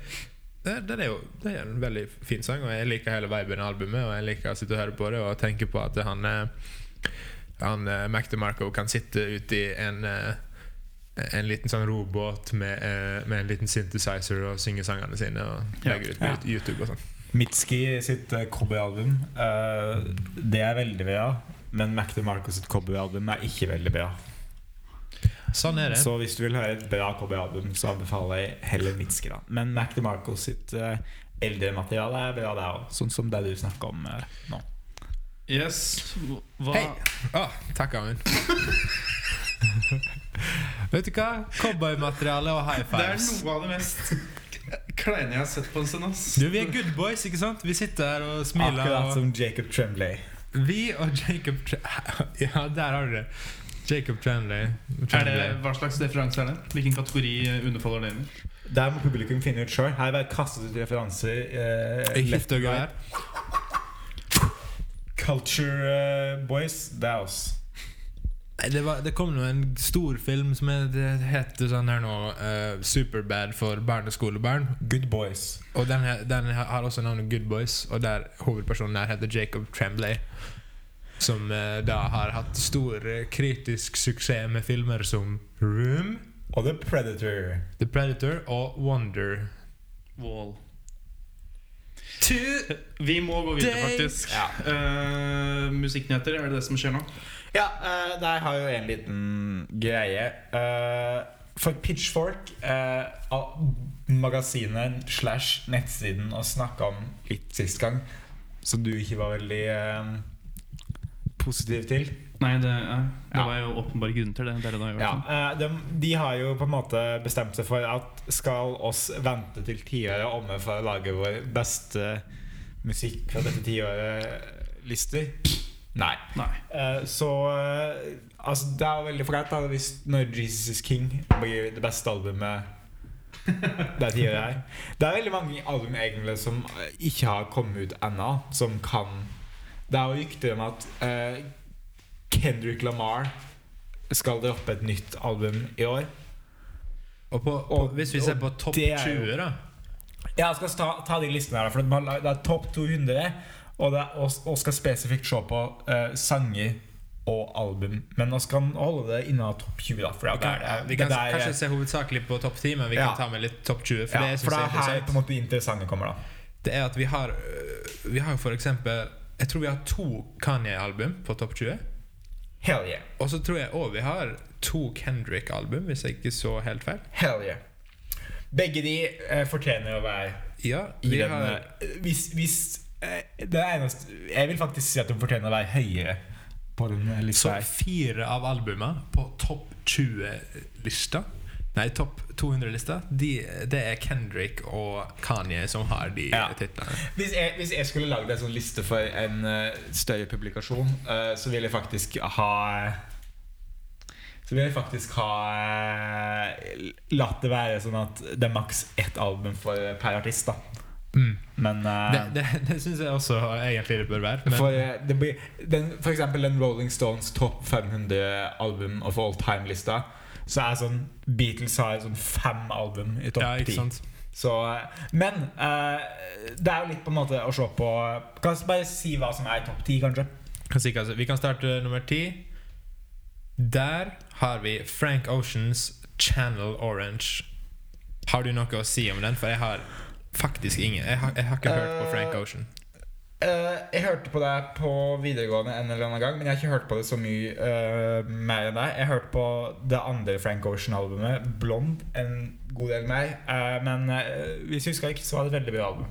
Speaker 2: det, det, er jo, det er en veldig fin sang, og jeg liker hele viben i albumet. Og jeg liker å sitte og høre på det og tenke på at han, eh, han eh, Mac DeMarco kan sitte ute i en eh, en liten sånn robåt med, eh, med en liten synthesizer og synge sangene sine. Og
Speaker 3: Ja.
Speaker 2: legge ut på
Speaker 4: Ja.
Speaker 2: YouTube og sånn.
Speaker 4: Mitski sitt eh, cowboyalbum, eh, det er veldig bra. Men Mac DeMarco sitt cowboyalbum er ikke veldig bra.
Speaker 2: Sånn er det.
Speaker 4: Så hvis du vil høre et bra cowboyalbum, så anbefaler jeg heller Mitski. da Men Mac DeMarco sitt eh, eldre materiale er bra, det òg. Sånn som det du snakker om eh, nå.
Speaker 3: Yes. Hva
Speaker 2: Hei! Å, Ah, takk, Amund. Vet du hva? Cowboymateriale og high
Speaker 3: Det er
Speaker 2: fives.
Speaker 3: noe av det mest kleine jeg har sett på en stund. ass.
Speaker 2: Du, vi er good boys, ikke sant? Vi sitter her og smiler.
Speaker 4: Akkurat
Speaker 2: og-
Speaker 4: som Jacob Tremblay.
Speaker 2: Vi og Jacob Tra- Ja, der har du det. Jacob Tranley.
Speaker 3: Er det, hva slags referanse er det? Hvilken kategori eh, underfaller det inn i?
Speaker 4: Der må publikum finne ut sjøl. Her har jeg kastet ut referanser. eh, left and right. Culture eh, Boys, det er oss.
Speaker 2: Det, var, det kom nå en stor film som het- heter sånn her nå eh, Superbad for barneskolebarn.
Speaker 4: Good Boys.
Speaker 2: Og den, he- den har også navnet Good Boys, og der hovedpersonen der heter Jacob Tremblay. Som eh, da har hatt stor eh, kritisk suksess med filmer som Room,
Speaker 4: Og The Predator.
Speaker 2: The Predator og Wonder.
Speaker 3: Wall.
Speaker 2: Two
Speaker 3: Vi må gå videre,
Speaker 2: Dang!
Speaker 3: faktisk.
Speaker 4: Ja.
Speaker 3: Eh, musikknyheter, er det det som skjer nå?
Speaker 4: Ja, eh, der har jo en liten greie. Eh, for Pitchfork, eh, al- magasinet slash nettsiden å snakke om litt sist gang, som du ikke var veldig eh, positiv til
Speaker 3: Nei, det, er- det
Speaker 4: Ja.
Speaker 3: var jo åpenbare grunner til det. det, er det det har
Speaker 4: ja,
Speaker 3: gjort. sånn.
Speaker 4: eh, de, de har jo på en måte bestemt seg for at skal oss vente til tiåret er omme for å lage vår beste musikk fra dette tiåret-lister? Nei.
Speaker 3: Nei.
Speaker 4: Eh, så eh, altså, det er jo veldig flaut da, hvis når Jesus is King blir det beste albumet det tiåret her. Det er veldig mange album egentlig som eh, ikke har kommet ut ennå, som kan Det er jo rykter om at eh, Kendrick Lamar skal droppe et nytt album i år.
Speaker 2: Og, på,
Speaker 4: Og-
Speaker 2: på, hvis vi
Speaker 4: og
Speaker 2: ser på topp
Speaker 4: det er jo-
Speaker 2: 20, da
Speaker 4: Ja, jeg skal ta, ta de listene her, da, for de har lag- det er topp 200. Og, det er, og, og skal spesifikt se på eh, sanger og album. Men vi kan holde det inna topp 20, da. For det,
Speaker 2: Ok,
Speaker 4: er-
Speaker 2: Vi
Speaker 4: det
Speaker 2: kan
Speaker 4: der-
Speaker 2: kanskje se hovedsakelig på topp 10, men vi
Speaker 4: Ja.
Speaker 2: kan ta med litt topp 20. For
Speaker 4: ja,
Speaker 2: det jeg
Speaker 4: for
Speaker 2: synes er
Speaker 4: det er her på en
Speaker 2: interessant,
Speaker 4: måte det interessante kommer, da.
Speaker 2: det er at vi har øh, Vi har jo for eksempel Jeg tror vi har to Kanye-album på topp 20.
Speaker 4: Hell yeah.
Speaker 2: Og så tror jeg òg vi har to Kendrick-album, hvis jeg ikke så helt feil.
Speaker 4: Hell yeah. Begge de eh, fortjener å være
Speaker 2: Ja,
Speaker 4: i
Speaker 2: vi
Speaker 4: den
Speaker 2: har
Speaker 4: eh, Hvis, hvis eh, det er eneste Jeg vil faktisk si at de fortjener å være høyere på den eh, lista
Speaker 2: Så
Speaker 4: her.
Speaker 2: fire av albumene på topp 20-lista Nei, topp 200-lista. De, det er Kendrick og Kanye som har de
Speaker 4: Ja.
Speaker 2: titlene.
Speaker 4: Hvis jeg, hvis jeg skulle lagd en sånn liste for en eh, større publikasjon, eh, så ville jeg faktisk ha Så ville jeg faktisk ha eh, latt det være sånn at det er maks ett album for eh, per artist, da.
Speaker 2: Mm.
Speaker 4: Men eh,
Speaker 2: Det, det, det syns jeg også egentlig det bør være. Men
Speaker 4: for, eh, det blir, den, for eksempel den Rolling Stones topp 500 album of all time-lista, så er sånn Beatles har sånn fem album i
Speaker 2: ja,
Speaker 4: topp
Speaker 2: ikke
Speaker 4: ti.
Speaker 2: sant?
Speaker 4: Så, men eh, det er jo litt på en måte å se på Kan jeg bare si hva som er topp ti, kanskje?
Speaker 2: Kan si, hva som- vi kan starte nummer ti. Der har vi Frank Oceans Channel Orange. Har du noe å si om den? For jeg har faktisk ingen. Jeg har, jeg har ikke hørt på
Speaker 4: Eh,
Speaker 2: Frank Ocean.
Speaker 4: Eh, jeg hørte på deg på videregående en eller annen gang, men jeg har ikke hørt på det så mye eh, mer enn deg. Jeg hørte på det andre Frank Ocean-albumet, 'Blond', en god del mer. eh, men eh, hvis jeg husker ikke, så var det et veldig bra album.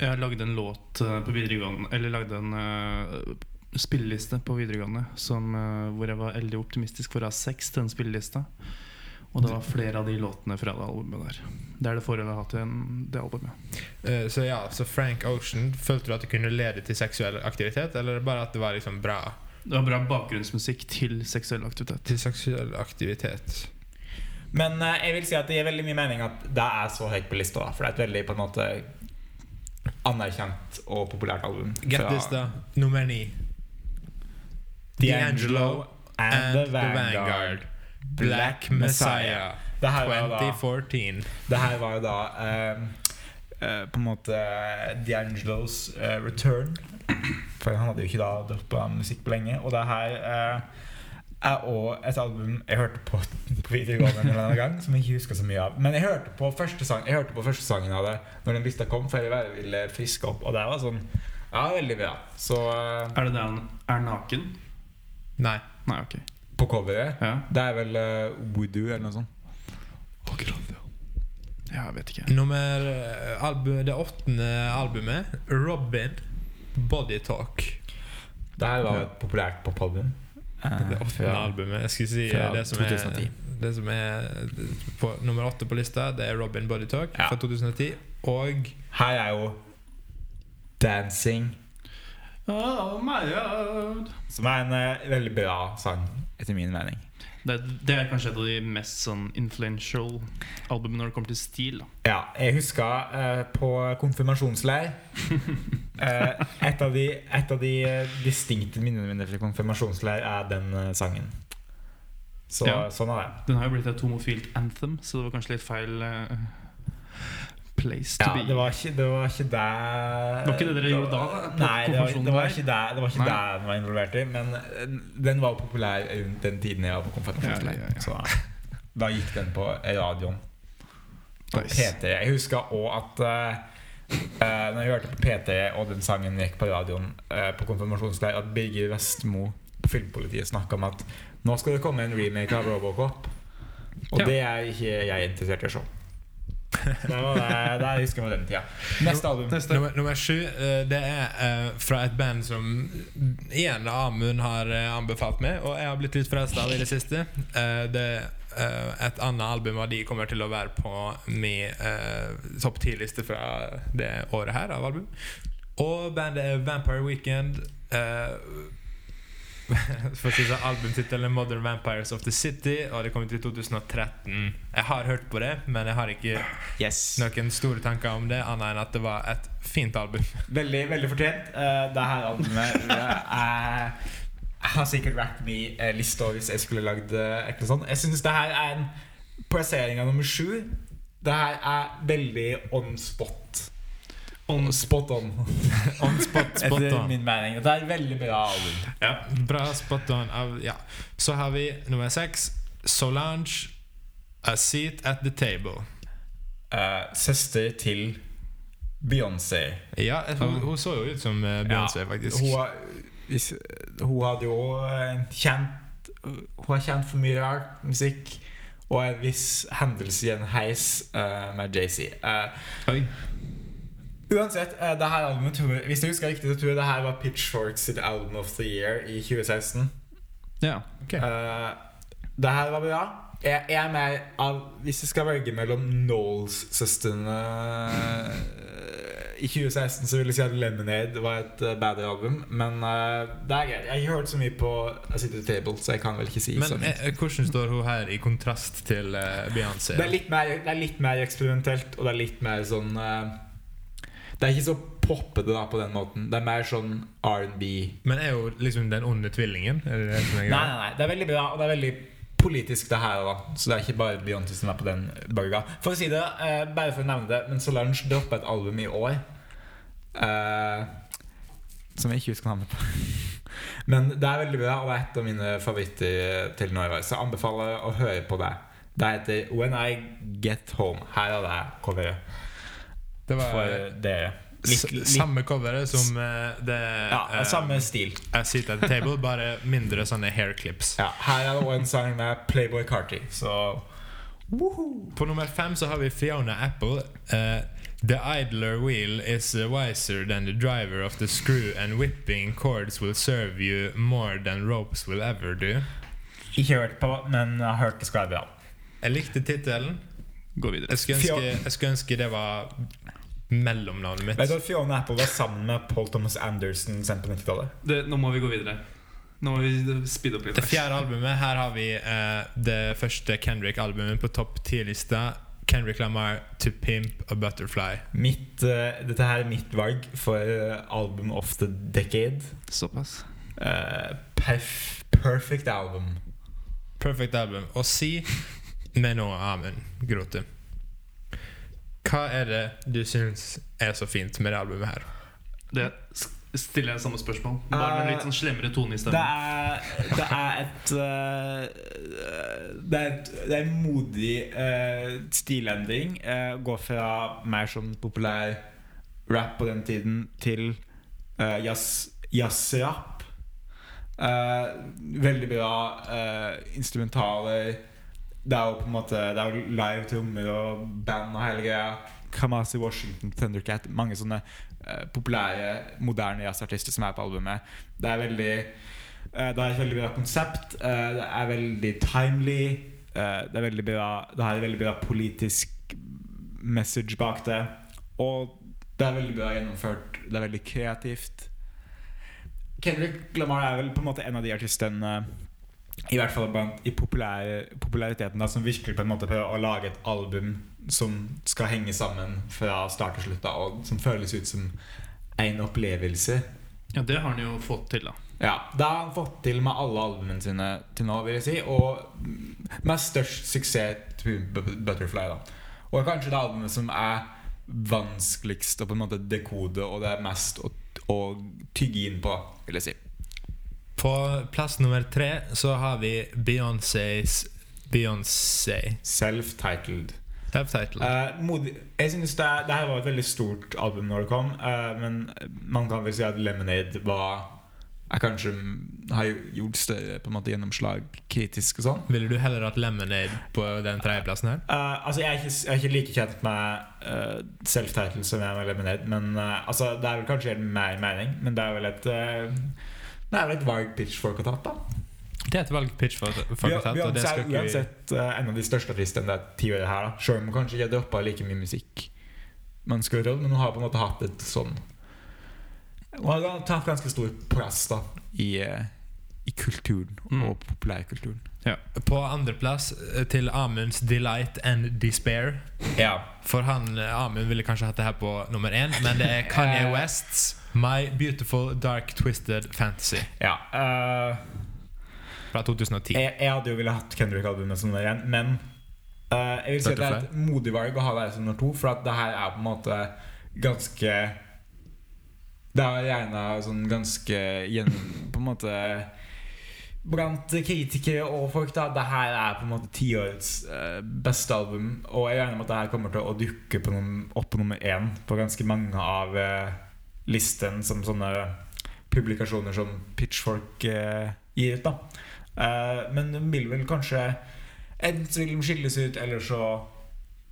Speaker 3: Jeg lagde en låt eh, på videregående Eller lagde en eh, spilleliste på videregående som, eh, hvor jeg var veldig optimistisk for å ha sex til den spillelista. Og det var flere av de låtene fra det albumet der. Det er det forholdet jeg har til den- det albumet.
Speaker 2: Eh, så ja, så Frank Ocean Følte du at det kunne lede til seksuell aktivitet, eller bare at det var liksom bra
Speaker 3: Det var bra bakgrunnsmusikk til seksuell aktivitet.
Speaker 2: til seksuell aktivitet?
Speaker 4: Men eh, jeg vil si at det gir veldig mye mening at det er så høyt på lista, da, for det er et veldig på en måte anerkjent og populært album.
Speaker 2: Get
Speaker 4: fra
Speaker 2: this, da. Nummer ni.
Speaker 4: D'Angelo and The Vanguard.
Speaker 2: Black Messiah.
Speaker 4: Det her var da,
Speaker 2: 2014.
Speaker 4: det her var jo da eh, eh, på en måte D'Angelos eh, return. For han hadde jo ikke da droppa musikk på lenge. Og det her eh, er òg et album jeg hørte på på videregående en eller annen gang. Som jeg ikke husker så mye av. Men jeg hørte på første, sang, jeg hørte på første sangen av det Når den lista kom, for jeg bare ville friske opp. Og det var sånn Ja, veldig bra. Så eh,
Speaker 3: Er det der han er naken?
Speaker 2: Nei.
Speaker 3: Nei, ok.
Speaker 4: på coveret
Speaker 3: Ja.
Speaker 4: Det er vel eh, Voodoo eller noe sånt.
Speaker 3: Ja, jeg vet ikke.
Speaker 2: Nummer eh, albu- Det åttende albumet, Robin, Body Talk.
Speaker 4: Det her var jo et populært popalbum. Eh,
Speaker 2: Det åttende albumet. Jeg skulle si eh,
Speaker 4: fra
Speaker 2: det som, er,
Speaker 4: 2010.
Speaker 2: det som er eh, på nummer åtte på lista, det er Robin Body Talk
Speaker 4: Ja.
Speaker 2: fra 2010. Og
Speaker 4: Her er jo Dancing,
Speaker 3: Oh my god
Speaker 4: som er en eh, veldig bra sang, etter min mening.
Speaker 3: det, det er kanskje et av de mest sånn influential albumene når det kommer til stil. da.
Speaker 4: Ja, jeg huska eh, på konfirmasjonsleir eh, Et av de, et av de eh, distinkte minnene mine fra konfirmasjonsleir er den eh, sangen. Så
Speaker 3: Ja.
Speaker 4: sånn er det.
Speaker 3: Den har jo blitt et homofilt anthem, så det var kanskje litt feil eh, place to
Speaker 4: Ja,
Speaker 3: be.
Speaker 4: det var ikke det var ikke det
Speaker 3: var ikke det dere gjorde da, da, på
Speaker 4: Nei, det var, det var
Speaker 3: konfirmasjonen
Speaker 4: ikke det, det, var ikke
Speaker 3: Nei.
Speaker 4: det den var involvert i. Men eh, den var populær rundt den tiden jeg var på konfirmasjonsleir.
Speaker 3: Ja, ja, ja.
Speaker 4: Så da, da gikk den på radioen. på
Speaker 3: Nice.
Speaker 4: P3. Jeg husker òg at eh, eh, Når jeg hørte på P3 og den sangen gikk på radioen eh, på konfirmasjonsleir, at Birger Vestmo på Filmpolitiet snakka om at nå skal det komme en remake av Robocop. Og
Speaker 3: Ja.
Speaker 4: det er ikke jeg interessert i å se. Det var det, det jeg husker jeg med den tida. Neste album.
Speaker 2: nummer, nummer sju, eh, det er eh, fra et band som igjen Amund har eh, anbefalt meg, og jeg har blitt litt frelst av i det siste. Eh, det eh, et annet album av de kommer til å være på min eh, topp ti-liste fra det året her av album. Og bandet er Vampire Weekend. eh, For å si det sånn, albumtittelen Modern Vampires of the City, og det kom ut i 2013. Jeg har hørt på det, men jeg har ikke
Speaker 4: Yes.
Speaker 2: noen store tanker om det, annet enn at det var et fint album.
Speaker 4: Veldig, veldig fortjent. Uh, det her albumet eh, har sikkert vært min eh, liste over hvis jeg skulle lagd eh, et eller annet sånt. Jeg syns det her er en plassering av nummer sju. Det her er veldig on spot. On spot on.
Speaker 2: On spot, spot
Speaker 4: Etter
Speaker 2: on.
Speaker 4: min mening. Det er et veldig bra album.
Speaker 3: Ja.
Speaker 2: Bra spot on. Av, ja. Så har vi nummer seks, Solange, A Seat At The Table.
Speaker 4: Eh, søster til Beyoncé.
Speaker 2: Ja, hun, hun så jo ut som eh, Beyoncé, faktisk.
Speaker 4: Hun, har- hvis, hun hadde jo en kjent Hun har kjent for mye rar musikk og en viss hendelse i en heis eh, med Jay-Z. Eh,
Speaker 3: Oi.
Speaker 4: uansett, eh, det her albumet tror jeg, hvis jeg husker riktig, så tror jeg det her var Pitchfork sitt album of the year i 2016.
Speaker 3: Ja.
Speaker 2: Ok.
Speaker 4: Eh, det her var bra. Jeg, jeg er mer av Hvis jeg skal velge mellom Knowles-søstrene eh, i 2016, så vil jeg si at Lemonade var et uh, bedre album. Men eh, det er greit. Jeg har ikke hørt så mye på A City Table, så jeg kan vel ikke si
Speaker 2: Men
Speaker 4: så mye.
Speaker 2: eh, hvordan står hun her i kontrast til eh, Beyoncé?
Speaker 4: Det er litt mer, det er litt mer eksperimentelt, og det er litt mer sånn eh, Det er ikke så poppete da på den måten. Det er mer sånn R&B.
Speaker 2: Men er hun liksom den onde tvillingen? Er det det som er
Speaker 4: Nei,
Speaker 2: greia?
Speaker 4: nei, nei, det er veldig bra, og det er veldig politisk det her da Så det er ikke bare Beyoncé som er på den bølga For å si det, eh, bare for å nevne det Men Solange droppet et album i år eh, Som jeg ikke husker navnet på. Men det er veldig bra, og det er et av mine favoritter til Norway. Så jeg anbefaler å høre på det. Det heter When I Get Home. Her er det coveret
Speaker 2: Det var eh,
Speaker 4: for dere.
Speaker 2: s-
Speaker 4: Litt, litt,
Speaker 2: samme coveret som eh, det
Speaker 4: ja,
Speaker 2: eh,
Speaker 4: samme stil.
Speaker 2: I sit at the table, bare mindre sånne hair clips.
Speaker 4: Ja, her er det også en sang med Playboy Carty. Så
Speaker 2: På nummer fem så har vi Fiona Apple. eh, the idler wheel is uh, wiser than the driver of the screw, and whipping cords will serve you more than ropes will ever do.
Speaker 4: ikke hørt på, men jeg har hørt det skal være bra.
Speaker 2: Jeg likte tittelen.
Speaker 3: Gå videre.
Speaker 2: Jeg, skulle ønske- jeg skulle ønske det var mellomnavnet mitt.
Speaker 4: Vet du at Fiona Apple var sammen med Paul Thomas Anderson sendt på 90-tallet?
Speaker 3: Det, nå må vi gå videre. Nå må vi speede opp litt.
Speaker 2: Det fjerde albumet. Her har vi eh, det første Kendrick-albumet på topp ti-lista. Kendrick Lamar, 'To Pimp a Butterfly'.
Speaker 4: Mitt, eh, dette her er mitt valg for eh, album of the decade.
Speaker 3: Såpass.
Speaker 4: Eh, perf perfect album.
Speaker 2: Perfect album. Og si med nå Amund Grote. Hva er det du syns er så fint med det albumet her?
Speaker 3: Det s- stiller jeg samme spørsmål. Bare med
Speaker 4: Eh,
Speaker 3: litt sånn slemmere tone i
Speaker 4: Det
Speaker 3: stemmen.
Speaker 4: er, det er et eh, Det er, et, det er en modig eh, stilendring. Eh, gå fra mer sånn populær rap på den tiden til eh, jazz- jazz-rap. Eh, veldig bra eh, instrumentaler. Det er jo på en måte Det er jo live trommer og band og hele greia. Kamasi Washington, Thundercat Mange sånne eh, populære, moderne jazzartister som er på albumet. Det er veldig eh, Det er et veldig bra konsept. eh, det er veldig timely. eh, det, er veldig bra, det har et veldig bra politisk message bak det. Og det er veldig bra gjennomført. Det er veldig kreativt. Kendrick Lamar er vel på en måte en av de artistene eh, i hvert fall blant i populær, populariteten da, som virkelig på en måte prøver å lage et album som skal henge sammen fra start til slutt, da, og som føles ut som en opplevelse.
Speaker 3: Ja, det har han jo fått til, da.
Speaker 4: Ja, Det har han fått til med alle albumene sine til nå, vil jeg si. Og med størst suksess til Butterfly. da Og kanskje det albumet som er vanskeligst å på en måte dekode, og det er mest å, å tygge inn på, vil jeg si.
Speaker 2: På plass nummer tre så har vi Beyoncés Beyoncé.
Speaker 4: Self-titled.
Speaker 2: Self-titled.
Speaker 4: Eh, modig, jeg synes det, det her var et veldig stort album når det kom, eh, men man kan vel si at Lemonade var jeg kanskje mm, har gjort større på en måte gjennomslag kritisk og sånn.
Speaker 2: Ville du heller hatt Lemonade på den tredjeplassen her?
Speaker 4: Eh, altså jeg er, ikke, jeg er ikke like kjent med eh, self-title som jeg er med Lemonade, men eh, altså, det er vel kanskje mer mening, men det er vel et eh, Det er vel et valg pitchfork har tatt, da.
Speaker 2: Det er et valg Pitchfork
Speaker 4: Vi
Speaker 2: har tatt. og altså. det
Speaker 4: Beyoncé
Speaker 2: skal
Speaker 4: er
Speaker 2: ikke vi-
Speaker 4: uansett eh, en av de største artistene det tiåret her. da Selv om hun kanskje ikke droppa like mye musikk, man skulle trodd, men hun har på en måte hatt et sånn Hun har tatt ganske stor plass da i, eh, i kulturen
Speaker 3: Mm.
Speaker 4: og populærkulturen.
Speaker 2: På andreplass eh, til Amunds Delight and Despair.
Speaker 4: Ja.
Speaker 2: For han, eh, Amund ville kanskje hatt det her på nummer én, men det er Kanye
Speaker 4: Eh.
Speaker 2: Wests My Beautiful Dark Twisted Fantasy
Speaker 4: ja. eh,
Speaker 2: fra 2010.
Speaker 4: jeg, jeg hadde jo ville hatt Kendrick-albumet som nummer én, men eh, jeg vil si at det er et modig valg å ha det her som nummer to, for at det her er på en måte ganske Det er gjerne sånn ganske gjen, På en måte Blant kritikere og folk, da. Det her er på en måte tiårets eh, beste album. Og jeg regner med at det her kommer til å dukke på num opp på nummer én på ganske mange av eh, listen som sånne publikasjoner som Pitchfork eh, gir ut. da Eh, Men den vil vel kanskje Enten så vil de skilles ut, eller så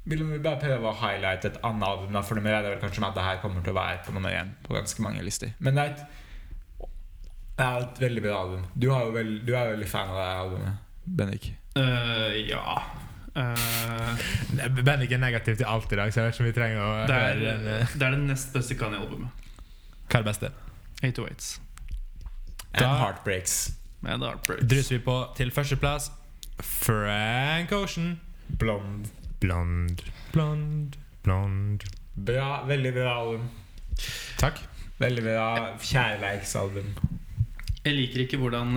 Speaker 4: vil de bare prøve å highlighte et annet album. Da, for de regner vel kanskje med at det her kommer til å være på nummer én på ganske mange lister. Men det er et, det er et veldig bra album. Du, har jo vel, du er jo veldig fan av det her albumet, Bendik.
Speaker 3: Eh, ja Eh,
Speaker 2: Bendik er negativ til alt i dag, så jeg vet ikke om vi trenger å
Speaker 3: det, er,
Speaker 2: høre en, eh,
Speaker 3: det er det nest beste Kanye-albumet.
Speaker 2: Hva er det beste?
Speaker 3: 808s.
Speaker 4: And
Speaker 2: Da-
Speaker 4: Heartbreaks.
Speaker 3: Med Heartbreaks.
Speaker 2: Druser vi på til førsteplass Frank Ocean.
Speaker 4: Blond.
Speaker 2: Blond, blond, blond.
Speaker 4: Bra, veldig bra album.
Speaker 2: Takk.
Speaker 4: Veldig bra kjærleiksalbum.
Speaker 3: Jeg liker ikke hvordan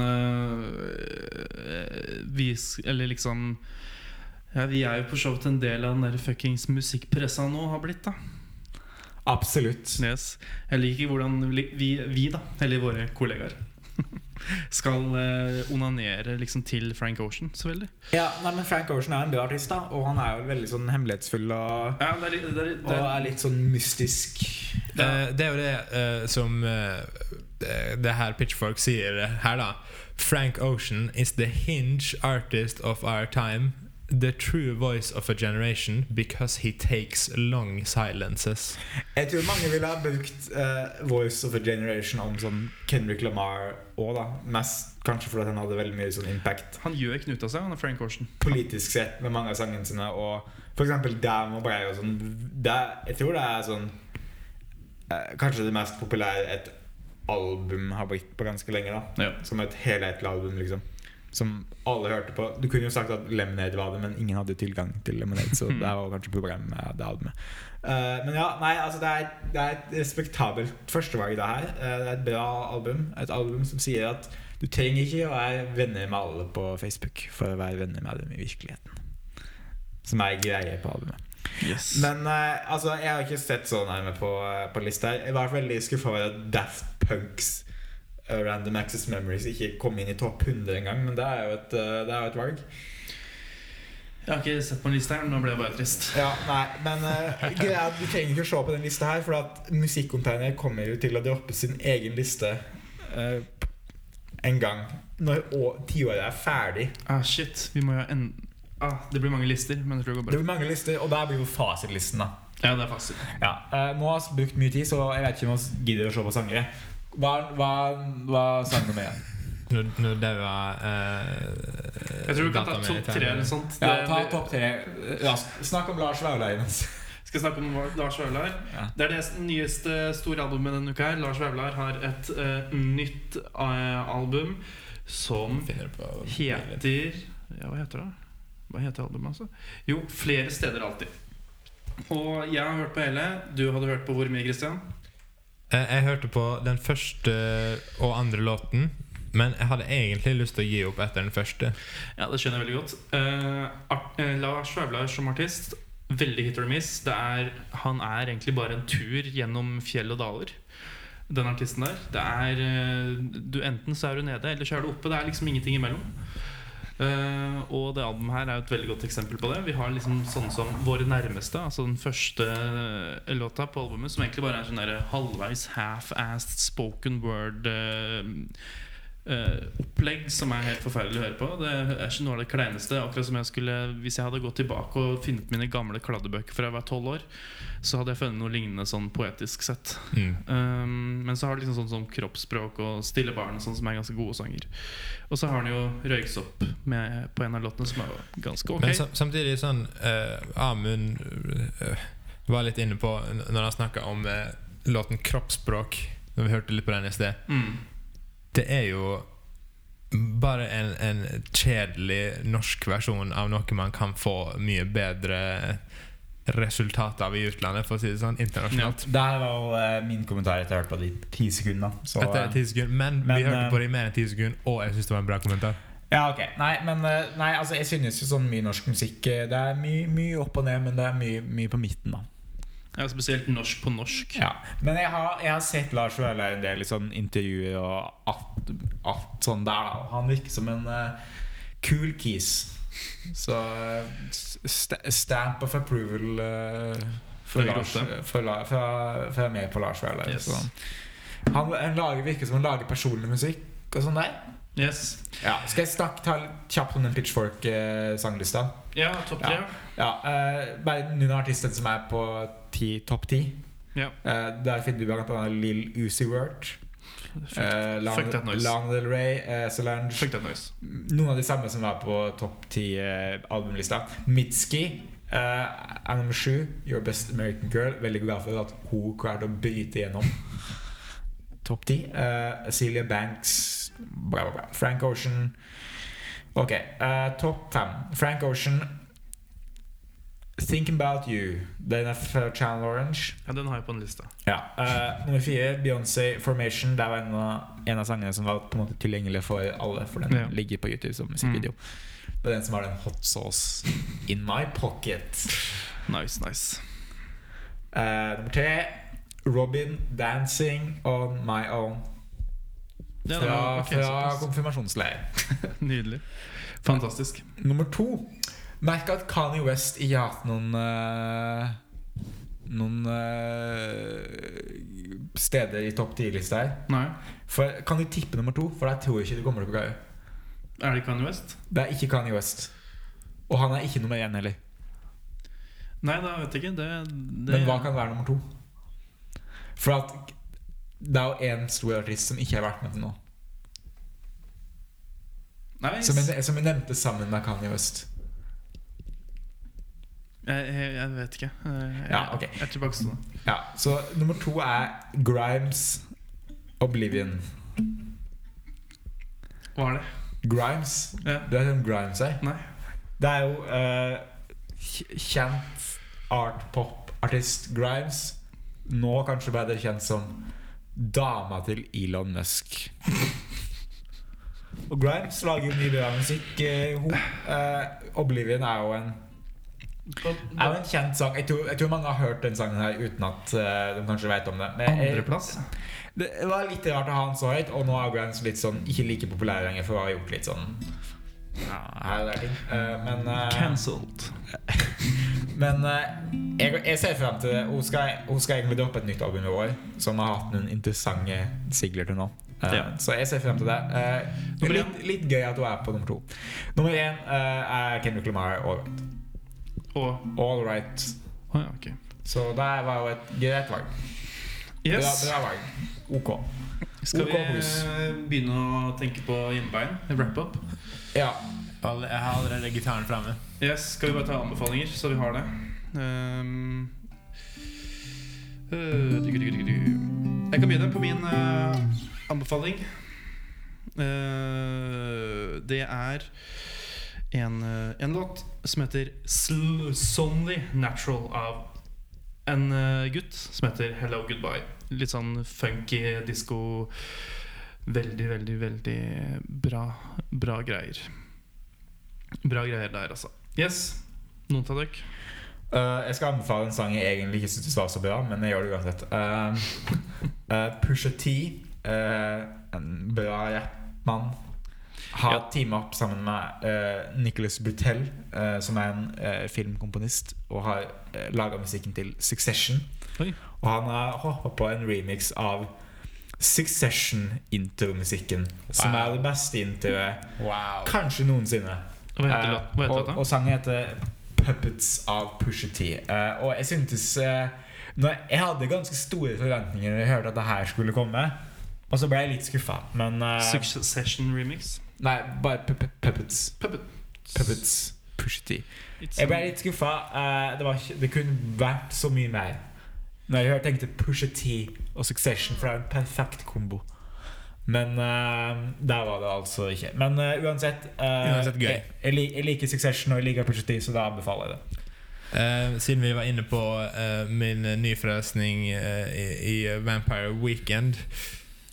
Speaker 3: eh, vi s- Eller liksom ja, Vi er jo på så vidt en del av den der fuckings musikkpressa nå har blitt, da.
Speaker 4: Absolutt.
Speaker 3: Yes. Jeg liker hvordan vi, vi- vi da, eller våre kollegaer, skal eh, onanere liksom til Frank Ocean så veldig.
Speaker 4: Ja, nei, men Frank Ocean er en bra artist, da. Og han er jo veldig sånn hemmelighetsfull og,
Speaker 3: Ja, det er, litt- det er, litt-
Speaker 4: og
Speaker 3: det er,
Speaker 4: er litt sånn mystisk.
Speaker 2: Eh, det er jo det eh, som eh, det- det her Pitchfork sier eh, her, da. Frank Ocean is the hinge artist of our time. The true voice of a generation because he takes long silences.
Speaker 4: Jeg tror mange ville ha brukt eh, Voice of a Generation om sånn Kendrick Lamar òg, da. Mest kanskje fordi han hadde veldig mye sånn impact
Speaker 3: han gjør knuta seg, han er Frank Ocean.
Speaker 4: politisk sett med mange av sangene sine. Og for eksempel Damn og Brei og sånn. Det, jeg tror det er sånn eh, Kanskje det mest populære et album har blitt på ganske lenge. da
Speaker 3: Ja.
Speaker 4: Som et helhetlig album, liksom. Som alle hørte på. Du kunne jo sagt at Lemonade var det, men ingen hadde tilgang til Lemonade. Så det var kanskje problemet med det albumet. Eh, men ja, nei, altså det er, det er et respektabelt førstevalg, det her. Eh, det er et bra album. Et album som sier at du trenger ikke å være venner med alle på Facebook for å være venner med dem i virkeligheten. Som er greie på albumet.
Speaker 3: Yes.
Speaker 4: Men eh, altså, jeg har ikke sett så nærme på, eh, på lista her. Jeg var veldig skuffa over at Daft Punks eh, Random Access Memories ikke kom inn i topp 100 engang, men det er jo et, eh, det er jo et valg.
Speaker 3: Jeg har ikke sett på en liste her, men nå ble jeg bare trist.
Speaker 4: Ja, nei, men eh, greia er at Du trenger ikke å se på den lista her, for at musikkontegner kommer jo til å droppe sin egen liste eh, en gang når å- tiåret er ferdig.
Speaker 3: Ah, shit, vi må jo ha en... Ah, det blir mange lister, men jeg tror det går
Speaker 4: Det
Speaker 3: bra.
Speaker 4: blir mange lister, og der blir jo fasitlisten, da.
Speaker 3: Ja, det er faktisk
Speaker 4: Ja, eh, Nå har vi brukt mye tid, så jeg vet ikke om vi gidder å se på sangere. Hva er sang nummer én?
Speaker 2: Nå nå daua eh,
Speaker 3: Jeg tror vi kan ta
Speaker 2: dataen min
Speaker 3: topp
Speaker 2: litt her.
Speaker 3: tre liksom. eller sånt.
Speaker 4: Ja,
Speaker 3: Det-
Speaker 4: ta
Speaker 3: det-
Speaker 4: topp tre raskt. Snakk om Lars Vaular.
Speaker 3: Skal snakke om Lars Vaular.
Speaker 4: Ja.
Speaker 3: Det er det nyeste store albumet denne uka. her Lars Vaular har et eh, nytt eh, album som
Speaker 2: Finner på-
Speaker 3: heter Ja, hva heter det? Hva heter albumet, altså? Jo, 'Flere steder alltid'. Og jeg har hørt på hele. Du hadde hørt på hvor mye, Christian?
Speaker 2: Eh, Jeg hørte på den første og andre låten, men jeg hadde egentlig lyst til å gi opp etter den første.
Speaker 3: Ja, det skjønner jeg veldig godt. Eh, Ar- eh, Lars Vaular som artist, veldig hit or miss. Det er, han er egentlig bare en tur gjennom fjell og daler. Den artisten der. Det er eh, du, Enten så er du nede, eller så er du oppe. Det er liksom ingenting imellom. Eh, og det albumet her er jo et veldig godt eksempel på det. Vi har liksom sånne som Våre nærmeste, altså den første eh, låta på albumet, som egentlig bare er sånn der halvveis half-assed spoken word eh, eh, opplegg som er helt forferdelig å høre på. Det er ikke noe av det kleineste. Akkurat som jeg skulle Hvis jeg hadde gått tilbake og funnet mine gamle kladdebøker fra jeg var tolv år, så hadde jeg funnet noe lignende sånn poetisk sett.
Speaker 2: Mm.
Speaker 3: Um, men så har du liksom sånn som kroppsspråk og Stille barn og sånn som er ganske gode sanger. Og så har han jo Røyksopp med, på en av låtene som er ganske ok.
Speaker 2: Men sam samtidig sånn eh, Amund eh, var litt inne på n- når han snakka om eh, låten 'Kroppsspråk', når vi hørte litt på den i sted.
Speaker 3: mm.
Speaker 2: Det er jo bare en, en kjedelig norsk versjon av noe man kan få mye bedre resultat av i utlandet, for å si det sånn, internasjonalt.
Speaker 4: Der var jo eh, min kommentar etter jeg hørte på de ti sekundene. Så,
Speaker 2: Etter
Speaker 4: eh,
Speaker 2: ti sekunder, men,
Speaker 4: Men,
Speaker 2: vi hørte
Speaker 4: eh,
Speaker 2: på det i mer enn ti sekunder, og jeg syns det var en bra kommentar.
Speaker 4: Ja, ok. Nei, men eh, nei, altså, jeg synes jo sånn mye norsk musikk eh, Det er mye, mye opp og ned, men det er mye, mye på midten, da.
Speaker 3: ja, spesielt norsk på norsk.
Speaker 4: Ja. Men jeg har, jeg har sett Lars Vaular en del i sånn intervjuer og alt, alt sånn der, da. Og Han virker som en eh, cool kis. Så eh, st stamp of approval eh, for
Speaker 3: Det er
Speaker 4: Lars,
Speaker 3: godt,
Speaker 4: for, La- fra, fra meg på Lars Vaular.
Speaker 3: Yes.
Speaker 4: Så Han, han lager, virker som han lager personlig musikk og sånn der.
Speaker 3: Yes.
Speaker 4: Ja. Skal jeg snakke, ta litt kjapt om den Pitchfork-sanglista?
Speaker 3: Ja, topp tre.
Speaker 4: Ja. Ja, eh, bare noen av artistene som er på ti, topp ti.
Speaker 3: Ja.
Speaker 4: Eh, der finner du blant annet Lill Uzi Wert. eh, Lana-
Speaker 3: Fuck that noise.
Speaker 4: Lana Del Rey, eh, Solange
Speaker 3: Fuck that noise.
Speaker 4: Noen av de samme som er på topp ti eh, albumlista. Mitski. Uh, er nummer sju. Your Best American Girl. Veldig glad for at hun klarte å bryte gjennom topp ti. Eh, Celia Banks. Bla, bla, bla. Frank Ocean. Ok, eh, topp fem. Frank Ocean. Thinking About You. Den er fra Channel Orange.
Speaker 3: Ja, den har jeg på en liste.
Speaker 4: Ja. eh, nummer fire, Beyoncé Formation. Det var en av, en av sangene som var på en måte tilgjengelig for alle, for den
Speaker 3: Ja. Mm.
Speaker 4: ligger på YouTube som musikkvideo. Det er den som har den hot sauce in my pocket.
Speaker 3: Nice, nice.
Speaker 4: Eh, nummer tre, Robin dancing on my own.
Speaker 3: Ja, det
Speaker 4: Fra,
Speaker 3: var- ok,
Speaker 4: fra
Speaker 3: såpass.
Speaker 4: konfirmasjonsleir.
Speaker 3: Nydelig. Fantastisk.
Speaker 4: Nummer to. Merk at Kanye West ikke har hatt noen eh, Noen eh, steder i topp 10-lista her.
Speaker 3: Nei.
Speaker 4: For, kan du tippe nummer to? For der tror jeg ikke du kommer til å klare.
Speaker 3: Er det Kanye West?
Speaker 4: Det er ikke Kanye West. Og han er ikke nummer én heller.
Speaker 3: Nei, da vet jeg ikke. Det, det
Speaker 4: Men hva kan være nummer to? For at det er jo én stor artist som ikke har vært med til nå.
Speaker 3: Nei,
Speaker 4: Som jeg, som jeg nevnte sammen med Kanye West.
Speaker 3: jeg, jeg, jeg vet ikke. Eh, Jeg,
Speaker 4: Ja, ok.
Speaker 3: jeg er tilbakestående.
Speaker 4: Ja, Så nummer to er Grimes Oblivion.
Speaker 3: Hva er det?
Speaker 4: Grimes.
Speaker 3: Ja.
Speaker 4: Du vet hvem Grimes er?
Speaker 3: Nei.
Speaker 4: Det er jo eh, kj- kjent art-pop-artist Grimes. Nå kanskje bedre kjent som dama til Elon Musk. Og Grimes lager jo mye bra musikk. eh, hun, eh, Oblivion er jo en er jo en kjent sang. Jeg tror, jeg tror mange har hørt den sangen her uten at eh, de kanskje vet om det. Men jeg-
Speaker 3: Andreplass?
Speaker 4: det var litt rart å ha han så høyt, og nå er Grimes litt sånn ikke like populær lenger for å ha gjort litt sånn her og der ting. Eh, Men, eh,
Speaker 3: Cancelled.
Speaker 4: men eh, jeg, jeg ser frem til det. Hun skal, hun skal egentlig droppe et nytt album i år, som har hatt noen interessante singler til nå. Eh,
Speaker 3: Ja.
Speaker 4: Så jeg ser frem til det. Eh,
Speaker 3: Nummer
Speaker 4: litt, litt gøy at hun er på nummer to. Nummer én eh, er Kendrick Lamar, All Right.
Speaker 3: Og
Speaker 4: All right.
Speaker 3: Å ja, ok.
Speaker 4: Så det var jo et greit valg.
Speaker 3: Yes.
Speaker 4: Bra, bra valg. OK.
Speaker 3: Skal
Speaker 4: Ok,
Speaker 3: vi
Speaker 4: hus.
Speaker 3: eh, begynne å tenke på hjemmebein? Wrap up?
Speaker 4: Ja.
Speaker 2: Alle- Jeg har allerede gitaren framme.
Speaker 3: Yes, Skal vi bare ta anbefalinger, så vi har det? Ehm, øh, du, du, du, du, du. Jeg kan begynne på min eh, anbefaling. Eh, det er en, eh, en låt som heter Sl Sonly Natural av en eh, gutt som heter Hello Goodbye. Litt sånn funky disko. Veldig, veldig, veldig bra, bra greier. Bra greier der, altså. Yes. Noen av dere?
Speaker 4: Eh, jeg skal anbefale en sang jeg egentlig ikke syntes var så bra, men jeg gjør det uansett. Eh, eh, Pusha T, eh, en bra rappmann, har
Speaker 3: Ja.
Speaker 4: teamet opp sammen med eh, Nicholas Brutel, eh, som er en eh, filmkomponist, og har uh, laga musikken til Succession.
Speaker 3: Oi.
Speaker 4: Og han har hoppa på en remix av Succession-intromusikken, som
Speaker 2: Wow.
Speaker 4: er det beste introet
Speaker 2: Wow.
Speaker 4: kanskje noensinne.
Speaker 3: Hva heter
Speaker 4: Eh,
Speaker 3: låt- hva heter
Speaker 4: og,
Speaker 3: låta?
Speaker 4: og sangen heter 'Puppets av Pusha T'. Eh, og jeg syntes eh, når Jeg hadde ganske store forventninger da jeg hørte at det her skulle komme. Og så ble jeg litt skuffa, men eh,
Speaker 3: Succession remix.
Speaker 4: Nei, bare pu- pu- Puppets.
Speaker 3: Puppet.
Speaker 4: Puppets Pusha T.
Speaker 3: It's
Speaker 4: Jeg ble litt skuffa. eh, det, var ikke- det kunne vært så mye mer. Når jeg hørte tenkte Pusha T og Succession, for det er en perfekt kombo. Men eh, der var det altså ikke. Men eh, uansett, eh,
Speaker 2: Uansett gøy.
Speaker 4: Jeg, jeg, lik- jeg liker Succession og jeg liker Pusha T, så da anbefaler jeg det.
Speaker 2: Eh, siden vi var inne på eh, min eh, nyforelskning eh, i, i Vampire Weekend,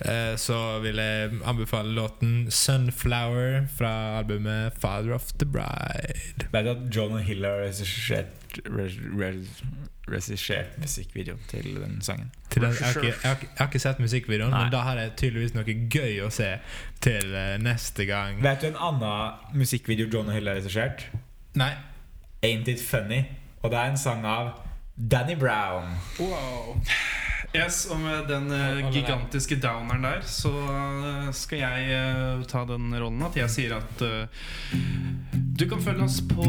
Speaker 2: eh, så vil jeg anbefale låten 'Sunflower' fra albumet 'Father of the Bride'.
Speaker 4: Vet du at John Hill har regissert- re- re- regissert musikkvideoen til den sangen?
Speaker 2: Til den, jeg, har ikke, jeg, har, ikke- jeg har ikke sett musikkvideoen,
Speaker 4: Nei.
Speaker 2: men da har jeg tydeligvis noe gøy å se til eh, neste gang.
Speaker 4: Vet du en annen musikkvideo John Hill har regissert?
Speaker 2: Nei.
Speaker 4: Ain't It Funny? Og det er en sang av Danny Brown.
Speaker 3: Wow. Yes, og med den eh,
Speaker 2: Alle der.
Speaker 3: gigantiske downeren der, så eh, skal jeg eh, ta den rollen at jeg sier at eh, du kan følge oss på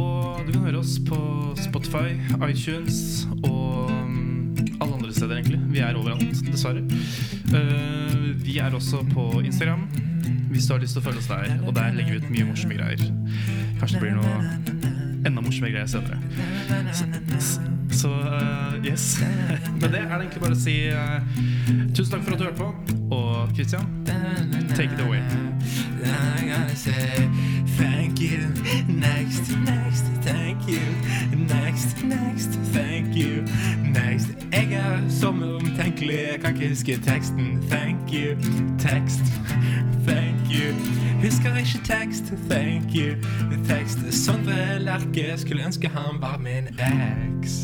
Speaker 3: Du kan høre oss på Spotify, iTunes og mm, alle andre steder, egentlig. Vi er overalt, dessverre. Eh, vi er også på Instagram, hvis du har lyst til å følge oss der. Og der legger vi ut mye morsomme greier. Kanskje det blir noe enda morsommere greier senere. Så eh, yes. Med det er det egentlig bare å si eh, tusen takk for at du hørte på. Og Christian, take it away.
Speaker 1: I gotta say thank you next, next, thank you next, next, thank you next. Jeg er som omtenkelig, jeg kan ikke huske teksten. Thank you, tekst, thank you. Husker ikke tekst, thank you, tekst. Sondre Lerche skulle ønske han var min eks.